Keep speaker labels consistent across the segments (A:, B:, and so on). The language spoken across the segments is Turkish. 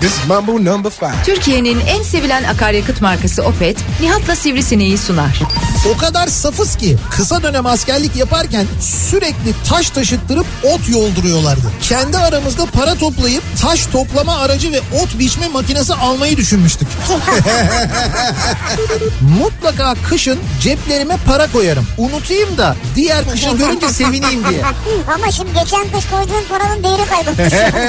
A: this is Mambo number five.
B: Türkiye'nin en sevilen akaryakıt markası Opet, Nihat'la Sivrisineği sunar.
C: O kadar safız ki kısa dönem askerlik yaparken sürekli taş taşıttırıp ot yolduruyorlardı. Kendi aramızda para toplayıp taş toplama aracı ve ot biçme makinesi almayı düşünmüştük. Mutlaka kışın ceplerime para koyarım. Unutayım da diğer kışı görünce sevineyim diye.
D: Ama şimdi geçen kış koyduğun paranın değeri kaybolmuş.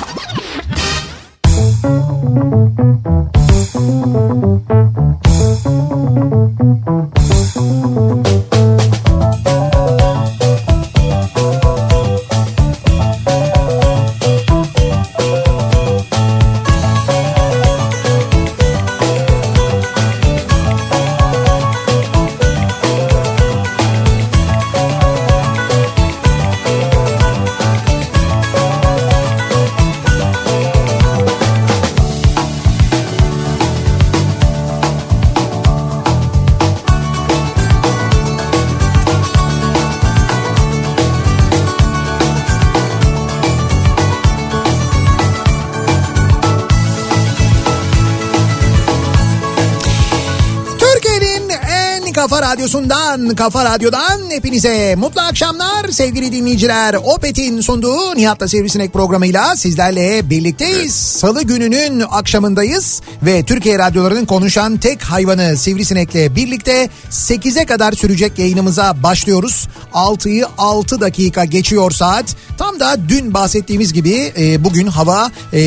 C: Türkiye'nin en kafa radyosundan, kafa radyodan hepinize mutlu akşamlar sevgili dinleyiciler. Opet'in sunduğu Nihat'la Sivrisinek programıyla sizlerle birlikteyiz. Salı gününün akşamındayız ve Türkiye radyolarının konuşan tek hayvanı Sivrisinek'le birlikte 8'e kadar sürecek yayınımıza başlıyoruz. 6'yı 6 dakika geçiyor saat. Tam da dün bahsettiğimiz gibi e, bugün hava e,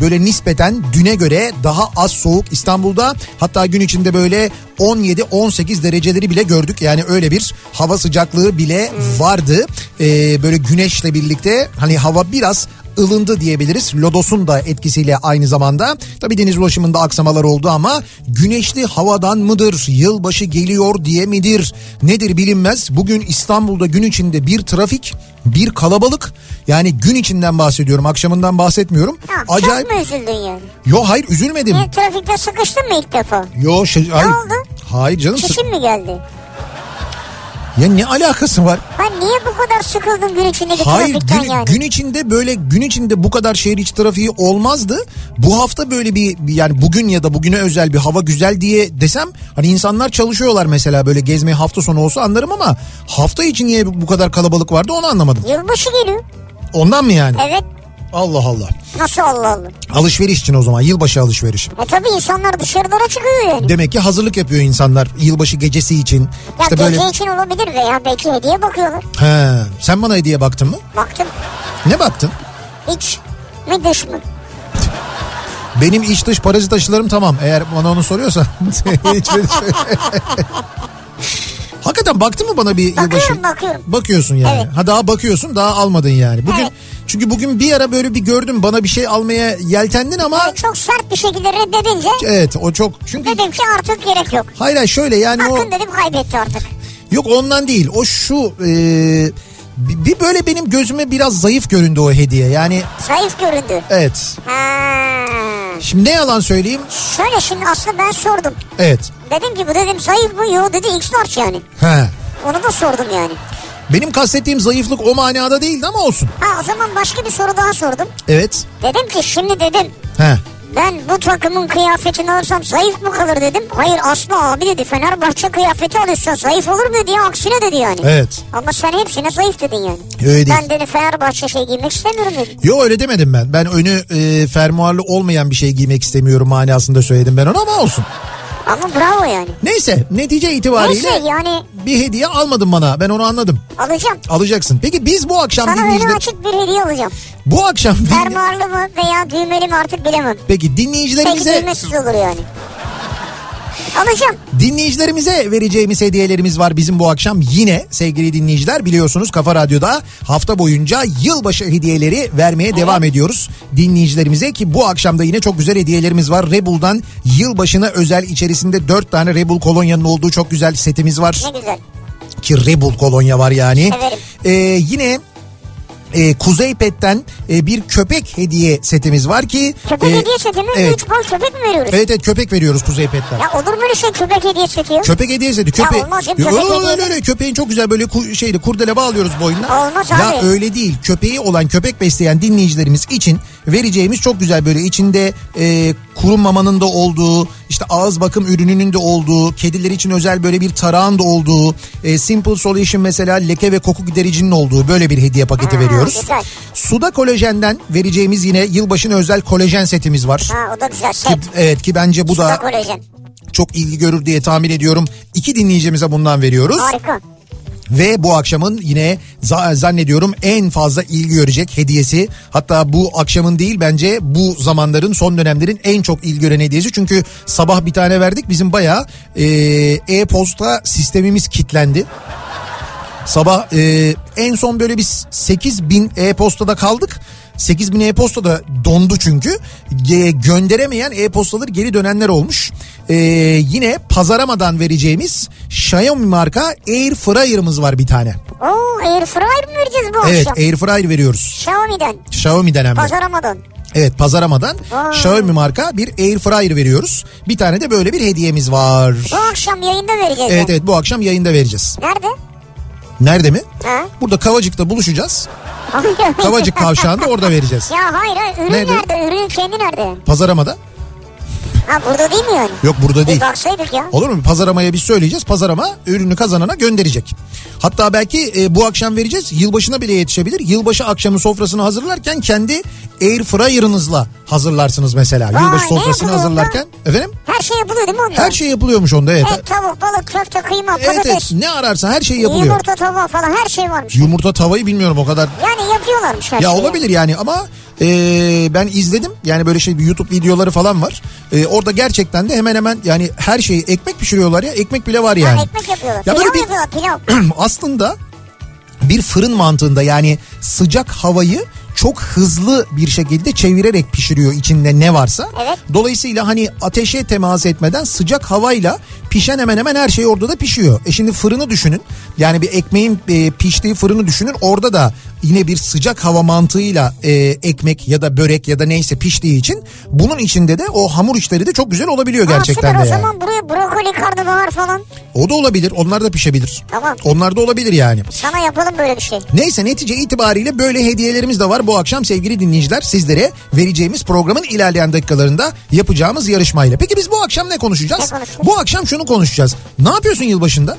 C: böyle nispeten düne göre daha az soğuk İstanbul'da. Hatta gün içinde böyle 17-18 dereceleri bile gördük. Yani öyle bir hava sıcaklığı bile vardı. E, böyle güneşle birlikte hani hava biraz ılındı diyebiliriz. Lodos'un da etkisiyle aynı zamanda. Tabii deniz ulaşımında aksamalar oldu ama güneşli havadan mıdır? Yılbaşı geliyor diye midir? Nedir bilinmez. Bugün İstanbul'da gün içinde bir trafik, bir kalabalık. Yani gün içinden bahsediyorum. Akşamından bahsetmiyorum.
D: Tamam,
C: Acayip. E,
D: Çok mu üzüldün yani?
C: Yo hayır üzülmedim.
D: Niye trafikte sıkıştın mı ilk defa?
C: Yo şey, hayır.
D: oldu?
C: Hayır canım. sık-
D: Çişin mi geldi?
C: Ya ne alakası var?
D: Ben niye bu kadar sıkıldın gün içindeki
C: Hayır
D: trafikten
C: gün,
D: yani?
C: gün içinde böyle gün içinde bu kadar şehir içi trafiği olmazdı. Bu hafta böyle bir bir- yani bugün ya da bugüne özel bir hava güzel diye desem hani insanlar çalışıyorlar mesela böyle gezmeye hafta sonu olsa anlarım ama hafta için niye bu kadar kalabalık vardı onu anlamadım.
D: Yılbaşı geliyor.
C: Ondan mı yani?
D: Evet.
C: Allah Allah.
D: Nasıl Allah Allah.
C: Alışveriş için o zaman yılbaşı alışverişi.
D: E tabii insanlar dışarılara çıkıyor yani.
C: Demek ki hazırlık yapıyor insanlar yılbaşı gecesi için.
D: ya
C: İşte
D: gece
C: böyle
D: için olabilir veya belki hediye bakıyorlar.
C: he, sen bana hediye baktın mı?
D: Baktım
C: Ne baktın?
D: iç mi dış mı?
C: Benim iç dış parazit aşılarım tamam. Eğer bana onu soruyorsan. Hiç ben- Hakikaten baktın mı bana bir
D: Bakıyorum,
C: yılbaşı?
D: bakıyorum.
C: Bakıyorsun yani.
D: Evet.
C: Ha daha bakıyorsun daha almadın yani. Bugün
D: Evet.
C: çünkü bugün bir ara böyle bir gördüm bana bir şey almaya yeltendin ama
D: Yani çok sert bir şekilde reddedince
C: evet o çok çünkü
D: dedim ki artık gerek yok.
C: hayır hayır şöyle yani o
D: Hakkın dedim kaybetti artık.
C: yok ondan değil. O şu e, bi- bir böyle benim gözüme biraz zayıf göründü o hediye. Yani
D: Zayıf göründü.
C: evet.
D: Ha.
C: Şimdi ne yalan söyleyeyim?
D: Şöyle şimdi aslında ben sordum.
C: Evet.
D: Dedim ki bu dedim zayıf bu yo dedi x large yani.
C: He.
D: Onu da sordum yani.
C: Benim kastettiğim zayıflık o manada değildi ama olsun.
D: Ha o zaman başka bir soru daha sordum.
C: Evet.
D: Dedim ki şimdi dedim
C: He.
D: ben bu takımın kıyafetini alırsam zayıf mı kalır dedim. Hayır asla abi dedi Fenerbahçe kıyafeti alırsa zayıf olur mu dedi ya aksine dedi yani.
C: Evet.
D: Ama sen hepsine zayıf dedin yani.
C: Öyle değil.
D: Ben dedi Fenerbahçe şey giymek istemiyorum dedim.
C: Yo öyle demedim ben. Ben önü e, fermuarlı olmayan bir şey giymek istemiyorum manasında söyledim ben onu ama olsun.
D: Ama bravo yani.
C: Neyse netice itibariyle
D: Neyse yani
C: bir hediye almadın bana. Ben onu anladım.
D: alacağım.
C: Alacaksın. Peki biz bu akşam
D: Sana önü
C: dinleyiciler...
D: açık bir hediye alacağım.
C: Bu akşam dinle-
D: Fermuarlı mı veya düğmeli mi artık bilemem.
C: Peki
D: Belki
C: dinleyicilerimize
D: düğmesiz olur yani. Alacağım.
C: dinleyicilerimize vereceğimiz hediyelerimiz var bizim bu akşam yine sevgili dinleyiciler biliyorsunuz Kafa Radyo'da hafta boyunca yılbaşı hediyeleri vermeye devam ediyoruz dinleyicilerimize ki bu akşamda yine çok güzel hediyelerimiz var Rebel'dan yılbaşına özel içerisinde 4 tane Rebel kolonyanın olduğu çok güzel setimiz var
D: Ne güzel.
C: ki Rebel kolonya var yani.
D: Severim.
C: Ee, yine e, Kuzey Pet'ten e, bir köpek hediye setimiz var ki.
D: Köpek
C: e,
D: hediye seti mi?
C: Evet. Ee,
D: Üç boy köpek mi veriyoruz?
C: Evet evet köpek veriyoruz Kuzey Pet'ten.
D: Ya olur mu öyle şey köpek hediye seti ya?
C: Köpek hediye seti. Köpe...
D: Ya olmaz ya, köpek
C: Yo,
D: hediye-
C: öyle öyle köpeğin çok güzel böyle ku- şeyde kurdele bağlıyoruz boynuna.
D: Olmaz
C: ya
D: abi.
C: öyle değil. Köpeği olan köpek besleyen dinleyicilerimiz için vereceğimiz çok güzel böyle içinde e, kurum mamanın da olduğu işte ağız bakım ürününün de olduğu kediler için özel böyle bir tarağın da olduğu e, Simple Solution mesela leke ve koku gidericinin olduğu böyle bir hediye paketi
D: Ha,
C: veriyoruz.
D: güzel.
C: Suda kolajenden vereceğimiz yine yılbaşına özel kolajen setimiz var.
D: Ha o da güzel
C: Ki,
D: set.
C: evet ki bence bu
D: Bu da
C: da
D: kolajen.
C: çok ilgi görür diye tahmin ediyorum. İki dinleyicimize bundan veriyoruz.
D: Harika.
C: Ve bu akşamın yine za- zannediyorum en fazla ilgi görecek hediyesi. Hatta bu akşamın değil bence bu zamanların son dönemlerin en çok ilgi gören hediyesi. Çünkü sabah bir tane verdik bizim bayağı e, e-posta sistemimiz kilitlendi. Sabah e, en son böyle biz 8 bin e-postada kaldık. 8 bin e-posta da dondu çünkü. Ge- gönderemeyen e-postaları geri dönenler olmuş. E, yine pazaramadan vereceğimiz Xiaomi marka Air Fryer'ımız var bir tane.
D: Oo air fryer mi vereceğiz bu
C: Evet
D: akşam?
C: Air Fryer veriyoruz.
D: Xiaomi'den.
C: Xiaomi'den hem de.
D: Pazaramadan.
C: Evet pazaramadan
D: Vay.
C: Xiaomi marka bir Air Fryer veriyoruz. Bir tane de böyle bir hediyemiz var.
D: Bu akşam yayında vereceğiz.
C: Evet
D: yani.
C: evet bu akşam yayında vereceğiz.
D: Nerede?
C: Nerede mi?
D: Ha?
C: Burada Kavacık'ta buluşacağız. Kavacık kavşağında orada vereceğiz.
D: Ya hayır hayır ürün
C: Nerede?
D: nerede? Ürünün kendi nerede?
C: Pazaramada?
D: Ha burada değil mi yani?
C: Yok burada
D: Bir
C: değil.
D: baksaydık ya.
C: Olur mu? Pazaramaya biz söyleyeceğiz. Pazarama ürünü kazanana gönderecek. Hatta belki e, bu akşam vereceğiz. Yılbaşına bile yetişebilir. Yılbaşı akşamı sofrasını hazırlarken kendi air fryer'ınızla hazırlarsınız mesela.
D: Vay,
C: Yılbaşı
D: ne
C: sofrasını
D: yapılıyor
C: hazırlarken. Efendim?
D: Her şey yapılıyor değil mi onda?
C: Her şey yapılıyormuş onda evet.
D: Et, tavuk, balık, köfte, kıyma,
C: Evet evet.
D: patates,
C: Ne ararsan her şey yapılıyor.
D: yumurta, tavuğa falan her şey varmış.
C: Yumurta tavayı bilmiyorum o kadar
D: Yani yapıyorlarmış her
C: Ya
D: şeyi.
C: olabilir yani ama e, ben izledim yani böyle şey bir YouTube videoları falan var. E, orada gerçekten de hemen hemen yani her şeyi ekmek pişiriyorlar ya ekmek bile var yani.
D: Ha, ekmek yapıyorlar.
C: Ya böyle
D: pilav
C: bir-
D: yapıyorlar pilav.
C: Aslında bir fırın mantığında yani sıcak havayı çok hızlı bir şekilde çevirerek pişiriyor içinde ne varsa.
D: Evet.
C: Dolayısıyla hani ateşe temas etmeden sıcak havayla pişen hemen hemen her şey orada da pişiyor. E şimdi fırını düşünün. Yani bir ekmeğin e, piştiği fırını düşünün. Orada da yine bir sıcak hava mantığıyla e, ekmek ya da börek ya da neyse piştiği için bunun içinde de o hamur işleri de çok güzel olabiliyor gerçekten
D: Aa,
C: de.
D: süper o
C: yani.
D: zaman buraya brokoli, karnabahar falan.
C: O da olabilir. Onlar da pişebilir.
D: Tamam.
C: Onlar da olabilir yani.
D: Sana yapalım böyle bir şey.
C: Neyse netice itibariyle böyle hediyelerimiz de var bu akşam sevgili dinleyiciler sizlere vereceğimiz programın ilerleyen dakikalarında yapacağımız yarışmayla. Peki biz bu akşam ne konuşacağız?
D: Ne konuşacağız?
C: bu akşam şunu konuşacağız. Ne yapıyorsun yılbaşında?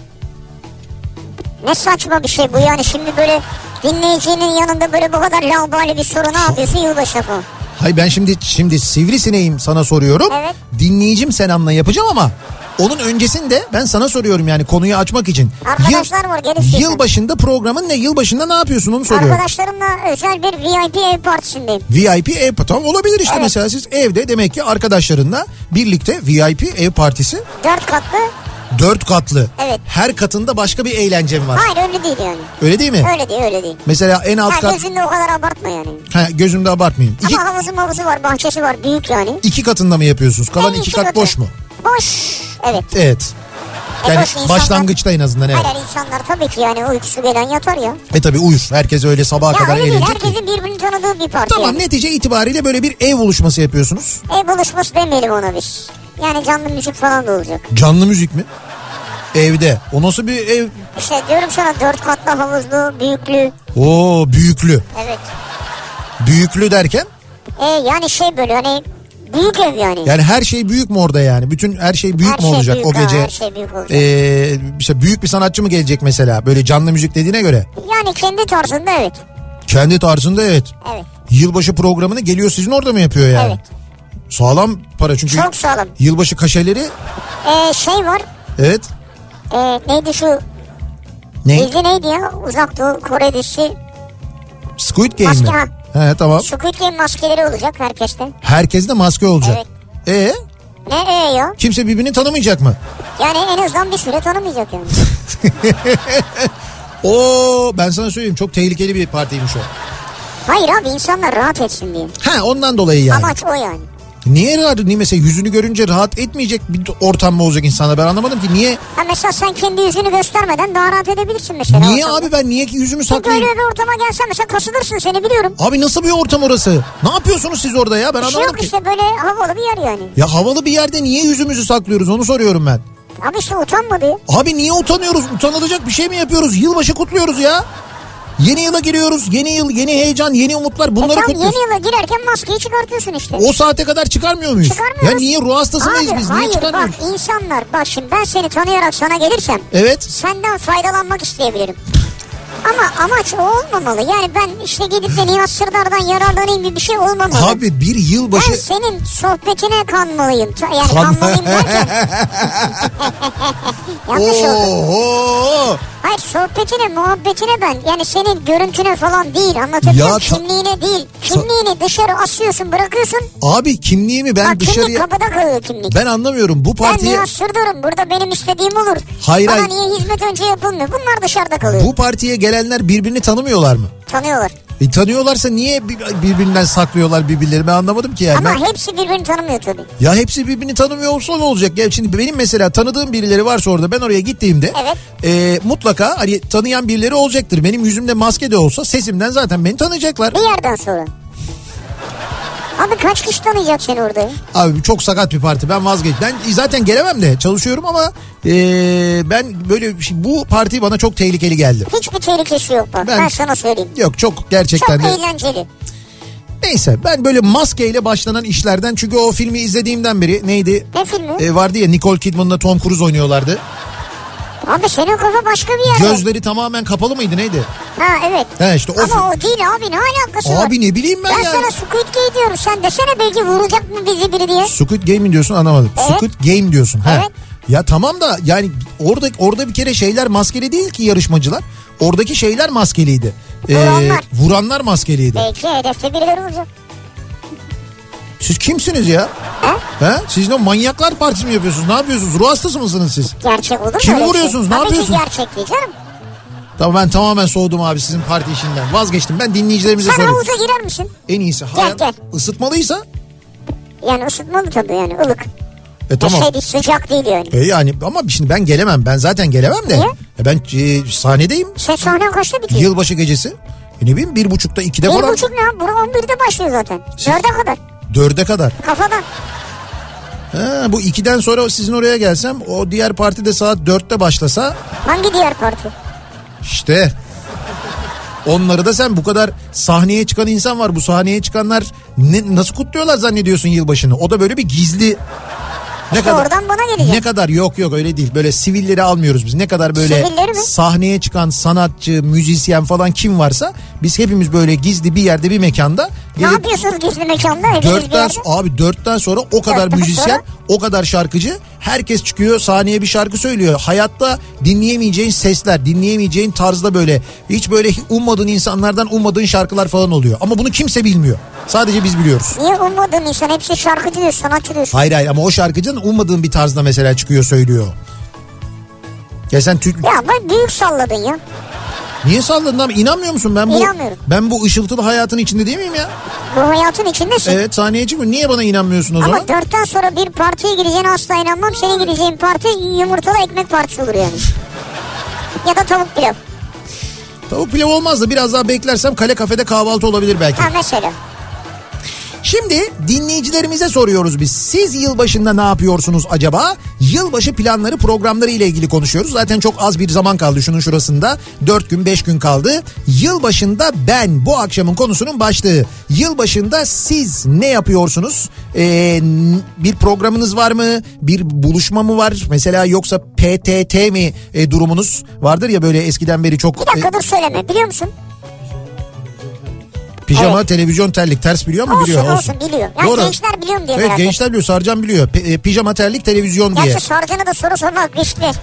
D: Ne saçma bir şey bu yani şimdi böyle dinleyicinin yanında böyle bu kadar laubali bir soru ne yapıyorsun yılbaşı bu?
C: Hay ben şimdi şimdi sivrisineğim sana soruyorum.
D: Evet.
C: Dinleyicim Senam'la yapacağım ama onun öncesinde ben sana soruyorum yani konuyu açmak için.
D: Arkadaşlar var, gelin istiyorsan.
C: Yılbaşında programın ne? Yılbaşında ne yapıyorsun onu soruyorum.
D: Arkadaşlarımla özel bir VIP ev partisindeyim.
C: VIP ev tamam olabilir işte
D: Evet.
C: mesela siz evde demek ki arkadaşlarınla birlikte VIP ev partisi
D: Dört katlı.
C: Dört katlı.
D: Evet.
C: Her katında başka bir eğlencem var.
D: Hayır öyle değil yani.
C: Öyle değil mi?
D: Öyle değil öyle değil.
C: Mesela en alt
D: Ha,
C: kat...
D: gözünde o kadar abartma yani.
C: Ha, gözümde abartmayayım. İki,
D: Ama havuzu havuzu var bahçesi var büyük yani.
C: iki katında mı yapıyorsunuz? Kalan
D: En
C: iki
D: iki
C: kat
D: katı.
C: boş mu?
D: Boş. Evet.
C: Evet.
D: E,
C: Yani
D: boş insanlar-
C: başlangıçta en azından evet.
D: Hayır insanlar tabii ki yani uykusu gelen yatar ya.
C: E tabi uyur. Herkes öyle sabaha
D: Ya
C: kadar
D: öyle değil
C: eğlenecek.
D: herkesin birbirini tanıdığı bir parti.
C: Tamam
D: yani.
C: netice itibariyle böyle bir ev buluşması yapıyorsunuz.
D: Ev buluşması demeyelim ona biz. Yani canlı müzik falan da olacak.
C: Canlı müzik mi? Evde. O nasıl bir ev?
D: İşte diyorum sana dört katlı havuzlu, büyüklü.
C: Oo büyüklü.
D: Evet.
C: Büyüklü derken
D: E yani şey böyle hani büyük ev yani.
C: yani her şey büyük mü orada yani? Bütün her şey büyük
D: Her
C: mü
D: şey
C: olacak
D: büyük,
C: o
D: ha,
C: gece?
D: her şey büyük olacak.
C: Ee, işte büyük bir sanatçı mı gelecek mesela? Böyle canlı müzik dediğine göre.
D: Yani kendi tarzında evet.
C: Kendi tarzında evet.
D: Evet.
C: Yılbaşı programını geliyor sizin orada mı yapıyor yani?
D: Evet.
C: Sağlam para çünkü.
D: Çok sağlam.
C: Yılbaşı kaşeleri
D: E, şey var.
C: evet.
D: E, neydi şu
C: Ne?
D: dizi neydi ya? Uzak Doğu Kore dizisi.
C: Squid Game
D: Maske
C: mi? He tamam.
D: Squid Game maskeleri olacak herkeste.
C: Herkes de maske olacak. Ee,
D: Ne e ya?
C: kimse birbirini tanımayacak mı?
D: Yani en azından bir süre tanımayacak yani.
C: Oo ben sana söyleyeyim çok tehlikeli bir partiymiş o.
D: Hayır abi insanlar rahat etsin diye.
C: Ha ondan dolayı yani.
D: Amaç o yani.
C: Niye rahat? Niye mesela yüzünü görünce rahat etmeyecek bir ortam mı olacak insana? Ben anlamadım ki niye
D: Ha mesela sen kendi yüzünü göstermeden daha rahat edebilirsin mesela.
C: niye
D: ortamda.
C: abi ben niye ki yüzümü
D: Çünkü öyle
C: saklayayım?
D: bir ortama gelsen mesela kasılırsın seni biliyorum.
C: Abi nasıl bir ortam orası? Ne yapıyorsunuz siz orada ya? Ben
D: Bir şey
C: anlamadım
D: yok
C: ki.
D: işte böyle havalı bir yer yani.
C: Ya havalı bir yerde niye yüzümüzü saklıyoruz onu soruyorum ben.
D: Abi işte utanmadı. E
C: Abi niye utanıyoruz? Utanılacak bir şey mi yapıyoruz? Yılbaşı kutluyoruz ya. Yeni yıla giriyoruz. Yeni yıl, yeni heyecan, yeni umutlar. Bunları
D: Tam
C: kutluyoruz.
D: E yeni yıla girerken maskeyi çıkartıyorsun işte.
C: O saate kadar çıkarmıyor muyuz?
D: Çıkarmıyoruz.
C: Ya niye ruh hastası mıyız
D: Abi
C: biz? Niye
D: hayır bak
C: çıkarmıyoruz?
D: insanlar bak şimdi ben seni tanıyarak sana gelirsem
C: Evet.
D: senden faydalanmak isteyebilirim. Ama amaç o olmamalı. Yani ben işte gidip de Nihat Sırdar'dan yararlanayım gibi bir şey olmamalı.
C: Abi bir
D: ben
C: yılbaşı...
D: senin sohbetine kanmalıyım. Ta- Yani
C: Kan-
D: kanmalıyım derken. Yanlış oldu.
C: Oho!
D: Hayır sohbetine muhabbetine ben yani senin görüntüne falan değil anlatabiliyor
C: Ya
D: muyum?
C: ta-
D: kimliğine değil. Kimliğini dışarı asıyorsun bırakıyorsun.
C: Abi kimliğimi ben
D: Bak kimlik
C: dışarıya...
D: kapıda kalıyor kimlik.
C: Ben anlamıyorum bu
D: Ben
C: partiye...
D: Nihat Sırdar'ım burada benim istediğim olur.
C: Hayır,
D: Bana
C: hayır.
D: niye hizmet önce yapılmıyor? Bunlar dışarıda kalıyor.
C: Bu partiye gelenler birbirini tanımıyorlar mı?
D: Tanıyorlar.
C: E, tanıyorlarsa niye bir- birbirinden saklıyorlar birbirlerini ben anlamadım ki yani.
D: Ama
C: Ben-
D: hepsi birbirini tanımıyor tabii.
C: Ya hepsi birbirini tanımıyor olsa ne olacak? Ya şimdi benim mesela tanıdığım birileri varsa orada ben oraya gittiğimde
D: Evet.
C: e, mutlaka hani tanıyan birileri olacaktır. Benim yüzümde maske de olsa sesimden zaten beni tanıyacaklar.
D: Bir yerden sonra. Abi kaç kişi tanıyacak seni orada? ya?
C: Abi çok sakat bir parti ben vazgeç. Ben zaten gelemem de çalışıyorum ama e, ben böyle bu parti bana çok tehlikeli geldi.
D: Hiçbir tehlikesi yok bak.
C: Ben-
D: Ben, sana söyleyeyim.
C: Yok çok
D: Çok
C: gerçekten de.
D: eğlenceli.
C: Neyse ben böyle maskeyle başlanan işlerden çünkü o filmi izlediğimden beri neydi?
D: Ne filmi?
C: E, vardı ya Nicole Kidman'la Tom Cruise oynuyorlardı.
D: Abi senin kafa başka bir yerde.
C: Gözleri tamamen kapalı mıydı neydi?
D: Ha evet.
C: He işte o
D: Ama o değil abi ne alakası var?
C: Abi ne bileyim ben,
D: Ben
C: ya.
D: sana Squid Game diyorum. Sen desene belki vuracak mı bizi biri diye.
C: Squid Game mi diyorsun anlamadım.
D: Evet.
C: Squid Game diyorsun. He.
D: Evet.
C: Ya tamam da yani orada orada bir kere şeyler maskeli değil ki yarışmacılar. Oradaki şeyler maskeliydi. Ee,
D: Vuranlar.
C: vuranlar maskeliydi.
D: Belki hedefte birileri olacak.
C: Siz kimsiniz ya?
D: Ha?
C: He? Siz ne manyaklar partisi mi yapıyorsunuz? Ne yapıyorsunuz? Ruh hastası mısınız siz?
D: Gerçek olur mu?
C: Kimi
D: öyle
C: vuruyorsunuz?
D: Şey?
C: Ne
D: Tabii ki
C: yapıyorsunuz?
D: gerçek değil canım.
C: Tamam ben tamamen soğudum abi sizin parti işinden. Vazgeçtim. Ben dinleyicilerimize
D: Sen
C: sorayım.
D: havuza girer misin?
C: En iyisi hayat
D: gel.
C: ısıtmalıysa
D: Yani ısıtmalı tabii yani ılık.
C: e tamam.
D: Şey değil, sıcak değil yani.
C: E yani ama şimdi ben gelemem. Ben zaten gelemem de.
D: Niye?
C: E ben e, sahnedeyim.
D: Sen sahnen kaçta bitiyor?
C: Yılbaşı gecesi. E ne bileyim bir buçukta ikide
D: Bir
C: falan.
D: buçuk ne abi? Bura 11'de başlıyor zaten.
C: Siz-
D: 4'e kadar.
C: Dörde kadar.
D: Kafadan.
C: Ha, bu ikiden sonra sizin oraya gelsem o diğer parti de saat dörtte başlasa
D: Hangi diğer parti?
C: işte onları da sen bu kadar sahneye çıkan insan var. Bu sahneye çıkanlar ne- nasıl kutluyorlar zannediyorsun yılbaşını? O da böyle bir gizli ne
D: İşte oradan bana gelecek.
C: Ne kadar yok yok öyle değil. Böyle sivilleri almıyoruz biz. Ne kadar böyle
D: Sivilleri mi?
C: sahneye çıkan sanatçı, müzisyen falan kim varsa biz hepimiz böyle gizli bir yerde bir mekanda
D: Ne
C: gelip
D: yapıyorsunuz gizli mekanda? Eviniz bir
C: Dörtten
D: yerde.
C: so- abi dörtten sonra o kadar
D: Dörtten
C: müzisyen,
D: sonra?
C: o kadar şarkıcı, herkes çıkıyor sahneye bir şarkı söylüyor. Hayatta dinleyemeyeceğin sesler, dinleyemeyeceğin tarzda böyle hiç böyle ummadığın insanlardan ummadığın şarkılar falan oluyor. Ama bunu kimse bilmiyor. Sadece biz biliyoruz.
D: Niye ummadığın insan hepsi şarkıcı diyor, sanatçı diyor.
C: Hayır hayır ama o şarkıcının ummadığın bir tarzda mesela çıkıyor söylüyor. Ya sen Türk...
D: Ya ben büyük salladın ya.
C: Niye salladın abi? İnanmıyor musun? Ben bu,
D: İnanmıyorum.
C: ben bu ışıltılı hayatın içinde değil miyim ya?
D: Bu hayatın içindesin.
C: Evet sahneye çıkmıyor. Niye bana inanmıyorsun o zaman?
D: Ama dörtten sonra bir partiye gireceğine asla inanmam. Senin gireceğin parti yumurtalı ekmek partisi olur yani. ya da tavuk pilav.
C: Tavuk pilav olmaz da biraz daha beklersem kale kafede kahvaltı olabilir belki.
D: Ha mesela.
C: Şimdi dinleyicilerimize soruyoruz biz. Siz yılbaşında ne yapıyorsunuz acaba? Yılbaşı planları programları ile ilgili konuşuyoruz. Zaten çok az bir zaman kaldı şunun şurasında. 4 gün 5 gün kaldı. Yılbaşında ben bu akşamın konusunun başlığı. Yılbaşında siz ne yapıyorsunuz? Ee, n- bir programınız var mı? Bir buluşma mı var? Mesela yoksa PTT mi e, durumunuz? Vardır ya böyle eskiden beri çok...
D: Bir dakika
C: e,
D: dur söyleme biliyor musun?
C: Pijama, televizyon, terlik ters biliyor mu?
D: Olsun,
C: biliyor.
D: olsun, biliyor. Yani
C: Doğru.
D: gençler biliyorum diye
C: Evet
D: merak
C: gençler biliyor Sarcan biliyor. Pi- e, pijama, terlik, televizyon diye.
D: Gerçi sarcana da soru sormak riskli. Ya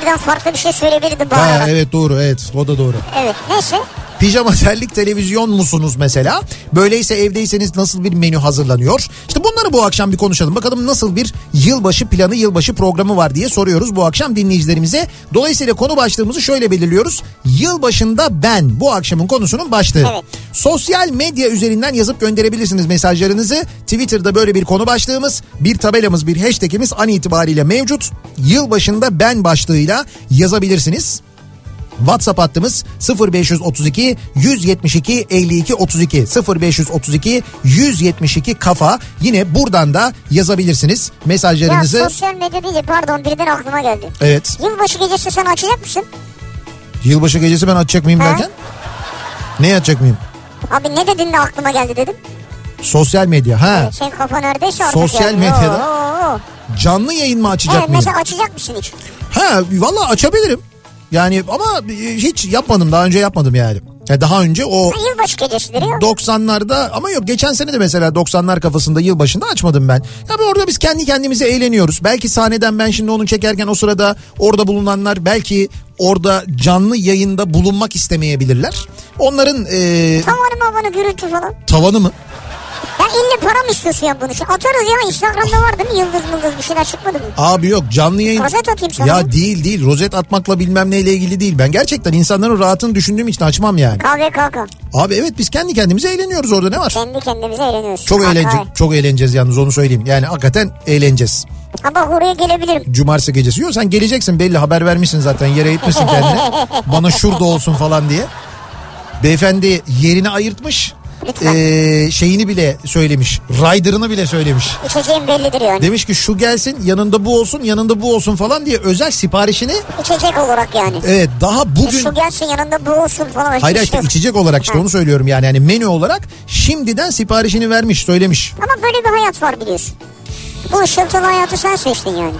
D: birden farklı bir şey söyleyebilirdim bu
C: Ha,
D: arada.
C: evet doğru evet o da doğru.
D: Evet neyse.
C: Pijama terlik televizyon musunuz mesela? Böyleyse evdeyseniz nasıl bir menü hazırlanıyor? İşte bunları bu akşam bir konuşalım. Bakalım nasıl bir yılbaşı planı, yılbaşı programı var diye soruyoruz bu akşam dinleyicilerimize. Dolayısıyla konu başlığımızı şöyle belirliyoruz. Yılbaşında ben bu akşamın konusunun başlığı.
D: Evet.
C: Sosyal medya üzerinden yazıp gönderebilirsiniz mesajlarınızı. Twitter'da böyle bir konu başlığımız, bir tabelamız, bir hashtagimiz an itibariyle mevcut. Yılbaşında ben başlığıyla yazabilirsiniz. WhatsApp hattımız 0532 172 52 32 0532 172 kafa. Yine buradan da yazabilirsiniz
D: Ya
C: mesajlarınızı.
D: sosyal medya deyince pardon birden aklıma geldi.
C: Evet.
D: Yılbaşı gecesi sen açacak mısın?
C: Yılbaşı gecesi ben açacak mıyım
D: Ha?
C: derken? Ne açacak mıyım?
D: Abi ne dedin de aklıma geldi dedim.
C: Sosyal medya. Ha.
D: Sen Senin kafa neredeyse artık
C: Sosyal
D: yani.
C: medyada.
D: Oo, oo, oo.
C: Canlı yayın mı açacak
D: Evet
C: mıyım?
D: mesela açacak mısın hiç?
C: Ha valla açabilirim. Yani ama hiç yapmadım daha önce yapmadım yani. Ya daha önce o
D: Ha, yılbaşı gecesidir ya.
C: 90'larda ama yok geçen sene de mesela 90'lar kafasında yılbaşında açmadım ben. Ya bu orada biz kendi kendimize eğleniyoruz. Belki sahneden ben şimdi onu çekerken o sırada orada bulunanlar belki orada canlı yayında bulunmak istemeyebilirler. Onların e,
D: Tavanım havanı gürültü falan.
C: tavanı mı?
D: Ya illa para mı istiyorsun ya bunun için? Atarız ya Instagram'da var değil mi? Yıldız mıldız bir şeyler çıkmadı mı?
C: Abi yok canlı yayın.
D: Rozet atayım sana.
C: Ya değil değil rozet atmakla bilmem neyle ilgili değil. Ben gerçekten insanların rahatını düşündüğüm için açmam yani.
D: Kahve kalka.
C: Abi evet biz kendi kendimize eğleniyoruz orada ne var?
D: Kendi kendimize eğleniyoruz.
C: Çok
D: Bak,
C: eğlence,
D: evet.
C: çok eğleneceğiz yalnız onu söyleyeyim. Yani hakikaten eğleneceğiz.
D: Ha bak oraya gelebilirim.
C: cumartesi gecesi. Yok sen geleceksin belli haber vermişsin zaten yere gitmesin kendine. Bana şurada olsun falan diye. Beyefendi yerini ayırtmış.
D: Lütfen.
C: Ee, şeyini bile söylemiş. Rider'ını bile söylemiş.
D: İçeceğim bellidir yani.
C: Demiş ki şu gelsin yanında bu olsun yanında bu olsun falan diye özel siparişini
D: İçecek olarak yani.
C: evet daha E, bugün
D: Şu gelsin yanında bu olsun falan.
C: hayır
D: Hiç
C: işte
D: yok.
C: içecek olarak işte
D: Ha.
C: onu söylüyorum yani yani menü olarak şimdiden siparişini vermiş söylemiş.
D: Ama böyle bir hayat var biliyorsun. Bu ışıltılı hayatı sen seçtin yani.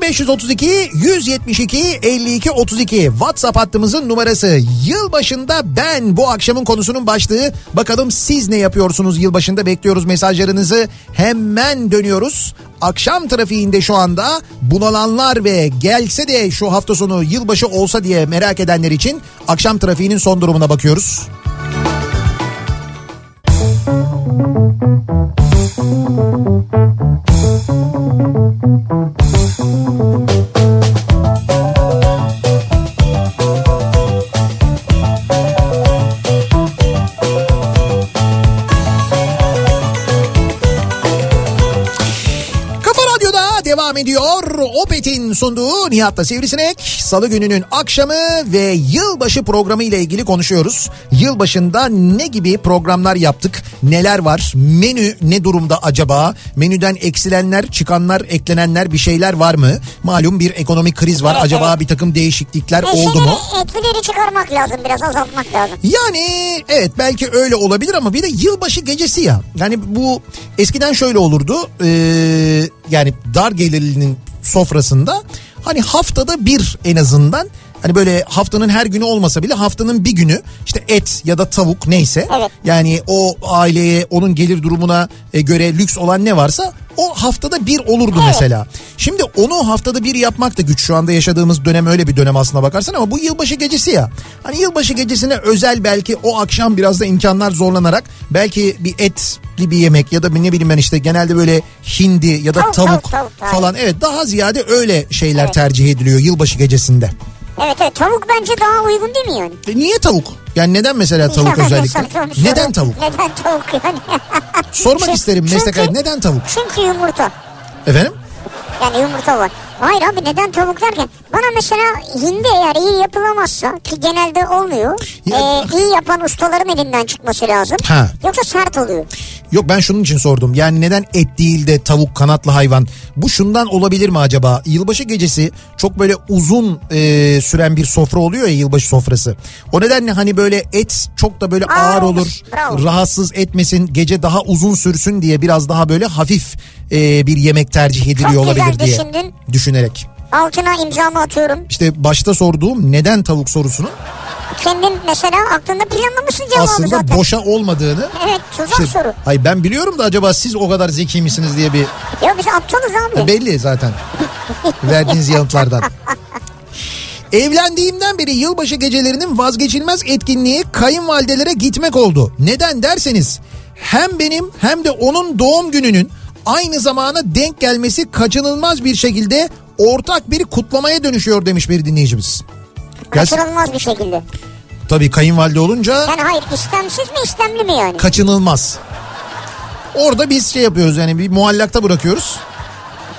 C: 0532 172 52 32 WhatsApp hattımızın numarası. Yılbaşında ben bu akşamın konusunun başlığı. Bakalım siz ne yapıyorsunuz yılbaşında bekliyoruz mesajlarınızı. Hemen dönüyoruz. Akşam trafiğinde şu anda bunalanlar ve gelse de şu hafta sonu yılbaşı olsa diye merak edenler için akşam trafiğinin son durumuna bakıyoruz. Kafa Radyo'da devam ediyor. Opet'in sunduğu Nihat'la Sivrisinek. Salı gününün akşamı ve yılbaşı programı ile ilgili konuşuyoruz. Yılbaşında ne gibi programlar yaptık? Neler var? Menü ne durumda acaba? Menüden eksilenler, çıkanlar, eklenenler bir şeyler var mı? Malum bir ekonomik kriz var.
D: Evet,
C: Acaba
D: evet.
C: bir takım değişiklikler
D: E,
C: oldu
D: şeyleri,
C: mu?
D: Etkileri çıkarmak lazım biraz azaltmak lazım.
C: Yani evet belki öyle olabilir ama bir de yılbaşı gecesi ya. Yani bu eskiden şöyle olurdu. Ee, yani dar gelirlinin sofrasında hani haftada bir en azından hani böyle haftanın her günü olmasa bile haftanın bir günü işte et ya da tavuk neyse
D: Evet.
C: yani o aileye onun gelir durumuna e, göre lüks olan ne varsa o haftada bir olurdu mesela. Şimdi onu haftada bir yapmak da güç şu anda yaşadığımız dönem öyle bir dönem aslına bakarsan ama bu yılbaşı gecesi ya. Hani yılbaşı gecesine özel belki o akşam biraz da imkanlar zorlanarak belki bir etli bir yemek ya da ne bileyim ben işte genelde böyle hindi ya da
D: Tavuk,
C: tavuk,
D: tavuk, tavuk, tavuk.
C: falan evet daha ziyade öyle şeyler
D: Evet.
C: tercih ediliyor yılbaşı gecesinde.
D: Evet evet tavuk bence daha uygun değil mi yani?
C: E niye tavuk? Yani neden mesela tavuk
D: Yani
C: özellikle?
D: saçma bir soru.
C: Neden tavuk?
D: Neden tavuk yani?
C: Sormak
D: Çünkü-
C: isterim meslek
D: çünkü-
C: hayatı, neden tavuk?
D: Çünkü yumurta.
C: Efendim?
D: Yani yumurta var. Hayır abi neden tavuk derken? Bana mesela hindi eğer iyi yapılamazsa ki genelde olmuyor.
C: Ya-
D: E, iyi yapan ustaların elinden çıkması lazım.
C: Ha.
D: Yoksa sert oluyor.
C: Yok ben şunun için sordum. Yani neden et değil de tavuk kanatlı hayvan? Bu şundan olabilir mi acaba? Yılbaşı gecesi çok böyle uzun e, süren bir sofra oluyor ya yılbaşı sofrası. O nedenle hani böyle et çok da böyle
D: Aa,
C: ağır olur.
D: bravo.
C: Rahatsız etmesin. Gece daha uzun sürsün diye biraz daha böyle hafif e, bir yemek tercih ediliyor
D: Çok güzel
C: olabilir diye
D: düşündün.
C: düşünerek.
D: Altına imzamı atıyorum.
C: İşte başta sorduğum neden tavuk sorusunun
D: kendin mesela aklında planlamışsın cevabı
C: aslında
D: zaten.
C: boşa olmadığını.
D: Evet tuzak
C: İşte-
D: soru.
C: Hayır ben biliyorum da acaba siz o kadar zeki misiniz diye bir
D: Ya biz aptalız abi.
C: E, belli zaten verdiğiniz yanıtlardan. Evlendiğimden beri yılbaşı gecelerinin vazgeçilmez etkinliği kayınvalidelere gitmek oldu. Neden derseniz hem benim hem de onun doğum gününün aynı zamana denk gelmesi kaçınılmaz bir şekilde ortak bir kutlamaya dönüşüyor demiş bir dinleyicimiz. Gerçi,
D: Kaçırılmaz bir şekilde.
C: tabii kayınvalide olunca
D: Yani hayır istemsiz mi istemli mi yani?
C: kaçınılmaz. Orada biz şey yapıyoruz yani bir muallakta bırakıyoruz.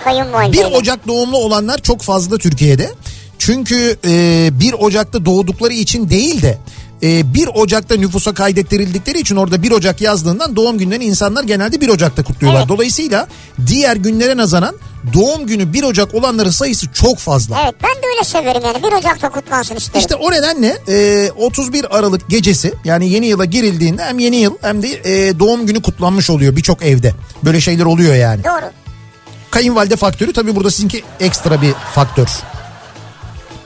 D: Kayınvalide.
C: 1 Ocak doğumlu olanlar çok fazla Türkiye'de. Çünkü e, 1 Ocak'ta doğdukları için değil de e, 1 Ocak'ta nüfusa kaydettirildikleri için orada 1 Ocak yazdığından doğum günlerini insanlar genelde 1 Ocak'ta kutluyorlar.
D: Evet.
C: Dolayısıyla diğer günlere nazaran doğum günü 1 Ocak olanların sayısı çok fazla.
D: Evet ben de öyle severim yani 1 Ocak'ta kutlansın isterim.
C: İşte o nedenle e, 31 Aralık gecesi yani yeni yıla girildiğinde hem yeni yıl hem de e, doğum günü kutlanmış oluyor birçok evde. Böyle şeyler oluyor yani.
D: Doğru.
C: Kayınvalide faktörü tabii burada sizinki ekstra bir faktör.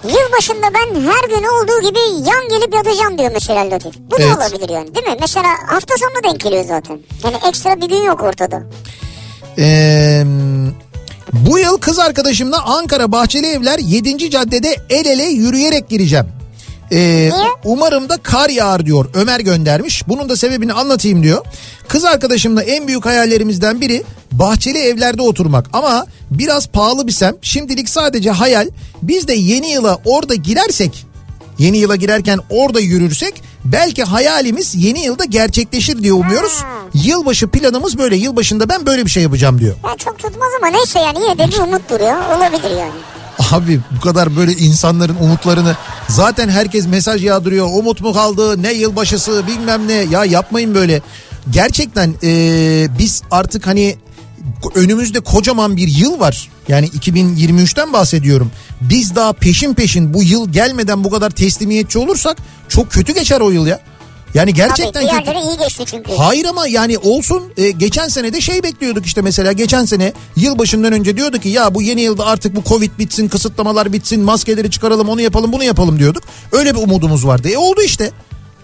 D: Yılbaşında ben her gün olduğu gibi yan gelip yatacağım diyor mesela Latif. Bu
C: Evet.
D: da olabilir yani değil mi? Mesela hafta sonuna denk geliyor zaten. Yani ekstra bir gün yok ortada.
C: Ee, bu yıl kız arkadaşımla Ankara Bahçeli Evler 7. caddede el ele yürüyerek gireceğim. Ee, umarım da kar yağar diyor Ömer göndermiş. Bunun da sebebini anlatayım diyor. Kız arkadaşımla en büyük hayallerimizden biri bahçeli evlerde oturmak. Ama biraz pahalı bir sem. Şimdilik sadece hayal. Biz de yeni yıla orada girersek yeni yıla girerken orada yürürsek belki hayalimiz yeni yılda gerçekleşir diye umuyoruz. Yılbaşı planımız böyle. Yılbaşında ben böyle bir şey yapacağım diyor.
D: Yani çok tutmaz ama neyse yani yine de bir umut duruyor. Olabilir yani.
C: Abi bu kadar böyle insanların umutlarını zaten herkes mesaj yağdırıyor. Umut mu kaldı ne yılbaşısı bilmem ne ya yapmayın böyle. Gerçekten eee, biz artık hani önümüzde kocaman bir yıl var. Yani 2023'ten bahsediyorum. Biz daha peşin peşin bu yıl gelmeden bu kadar teslimiyetçi olursak çok kötü geçer o yıl ya. Yani
D: Tabii
C: gerçekten kötü.
D: diğerleri iyi geçti çünkü.
C: Hayır ama yani olsun e, geçen sene de şey bekliyorduk işte mesela geçen sene yılbaşından önce diyordu ki ya bu yeni yılda artık bu covid bitsin kısıtlamalar bitsin maskeleri çıkaralım onu yapalım bunu yapalım diyorduk. Öyle bir umudumuz vardı e oldu işte.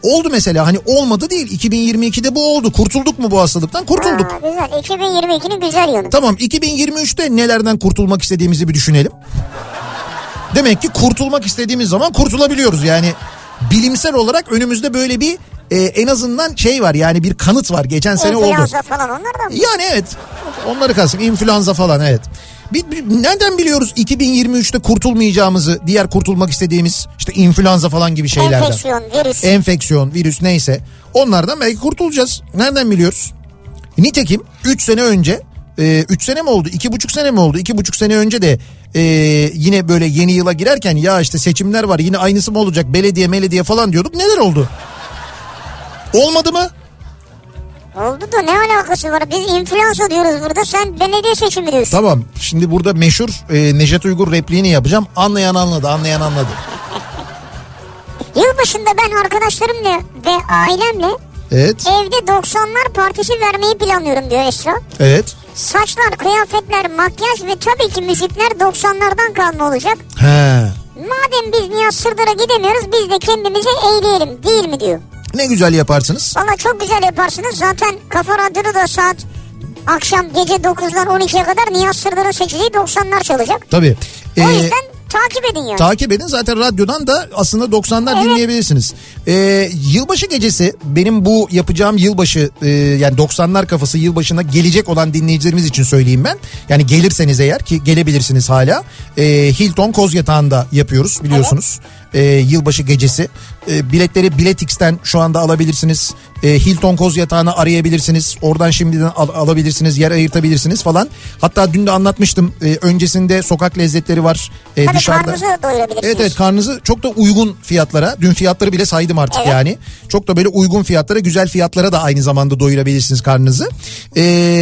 C: Oldu mesela hani olmadı değil 2022'de bu oldu kurtulduk mu bu hastalıktan kurtulduk.
D: Aa, güzel. 2022'nin güzel yanı.
C: Tamam 2023'te nelerden kurtulmak istediğimizi bir düşünelim. Demek ki kurtulmak istediğimiz zaman kurtulabiliyoruz yani. Bilimsel olarak önümüzde böyle bir e, en azından şey var yani bir kanıt var. Geçen sene oldu.
D: İnfluenza falan onlar da mı?
C: Yani evet onları kalsın influenza falan evet. Bir, bir- nereden biliyoruz 2023'te kurtulmayacağımızı diğer kurtulmak istediğimiz işte influenza falan gibi şeylerden. E-
D: Enfeksiyon, virüs.
C: Enfeksiyon, virüs neyse onlardan belki kurtulacağız. Nereden biliyoruz? Nitekim 3 sene önce 3 sene mi oldu 2,5 sene mi oldu 2,5 sene önce de e, yine böyle yeni yıla girerken ya işte seçimler var yine aynısı mı olacak belediye belediye falan diyorduk neler oldu? Olmadı mı?
D: Oldu da ne alakası var? Biz influenza diyoruz burada. Sen belediye seçimi diyorsun.
C: Tamam şimdi burada meşhur e, Nejat Uygur repliğini yapacağım. Anlayan anladı anlayan anladı.
D: Yılbaşında ben arkadaşlarımla ve ailemle
C: Evet
D: evde 90'lar partisi vermeyi planlıyorum diyor Esra.
C: evet.
D: Saçlar, kıyafetler, makyaj ve tabii ki müzikler 90'lardan kalma olacak.
C: He.
D: Madem biz Nihat Sırdar'a gidemiyoruz biz de kendimize eğleyelim değil mi diyor.
C: Ne güzel yaparsınız.
D: Valla çok güzel yaparsınız. Zaten Kafa Radyo'da da saat akşam gece 9'dan 12'ye kadar Nihat Sırdar'ın seçeceği 90'lar çalacak.
C: Tabii.
D: O
C: Ee,
D: yüzden takip edin yani.
C: Takip edin zaten radyodan da aslında 90'lar dinleyebilirsiniz. Ee, yılbaşı gecesi benim bu yapacağım yılbaşı e, yani 90'lar kafası yılbaşına gelecek olan dinleyicilerimiz için söyleyeyim ben. Yani gelirseniz eğer ki gelebilirsiniz hala. Ee, Hilton Kozyatağı'nda yapıyoruz biliyorsunuz. Ee, yılbaşı gecesi. Ee, biletleri Biletix'ten şu anda alabilirsiniz. Ee, Hilton Kozyatağı'nı arayabilirsiniz. Oradan şimdiden al- alabilirsiniz, yer ayırtabilirsiniz falan. Hatta dün de anlatmıştım. Ee, öncesinde sokak lezzetleri var. Ee,
D: Tabii
C: dışarıda.
D: karnınızı doyurabilirsiniz.
C: Evet evet karnınızı çok da uygun fiyatlara dün fiyatları bile saydım artık
D: Evet.
C: yani. Çok da böyle uygun fiyatlara güzel fiyatlara da aynı zamanda doyurabilirsiniz karnınızı. Ee,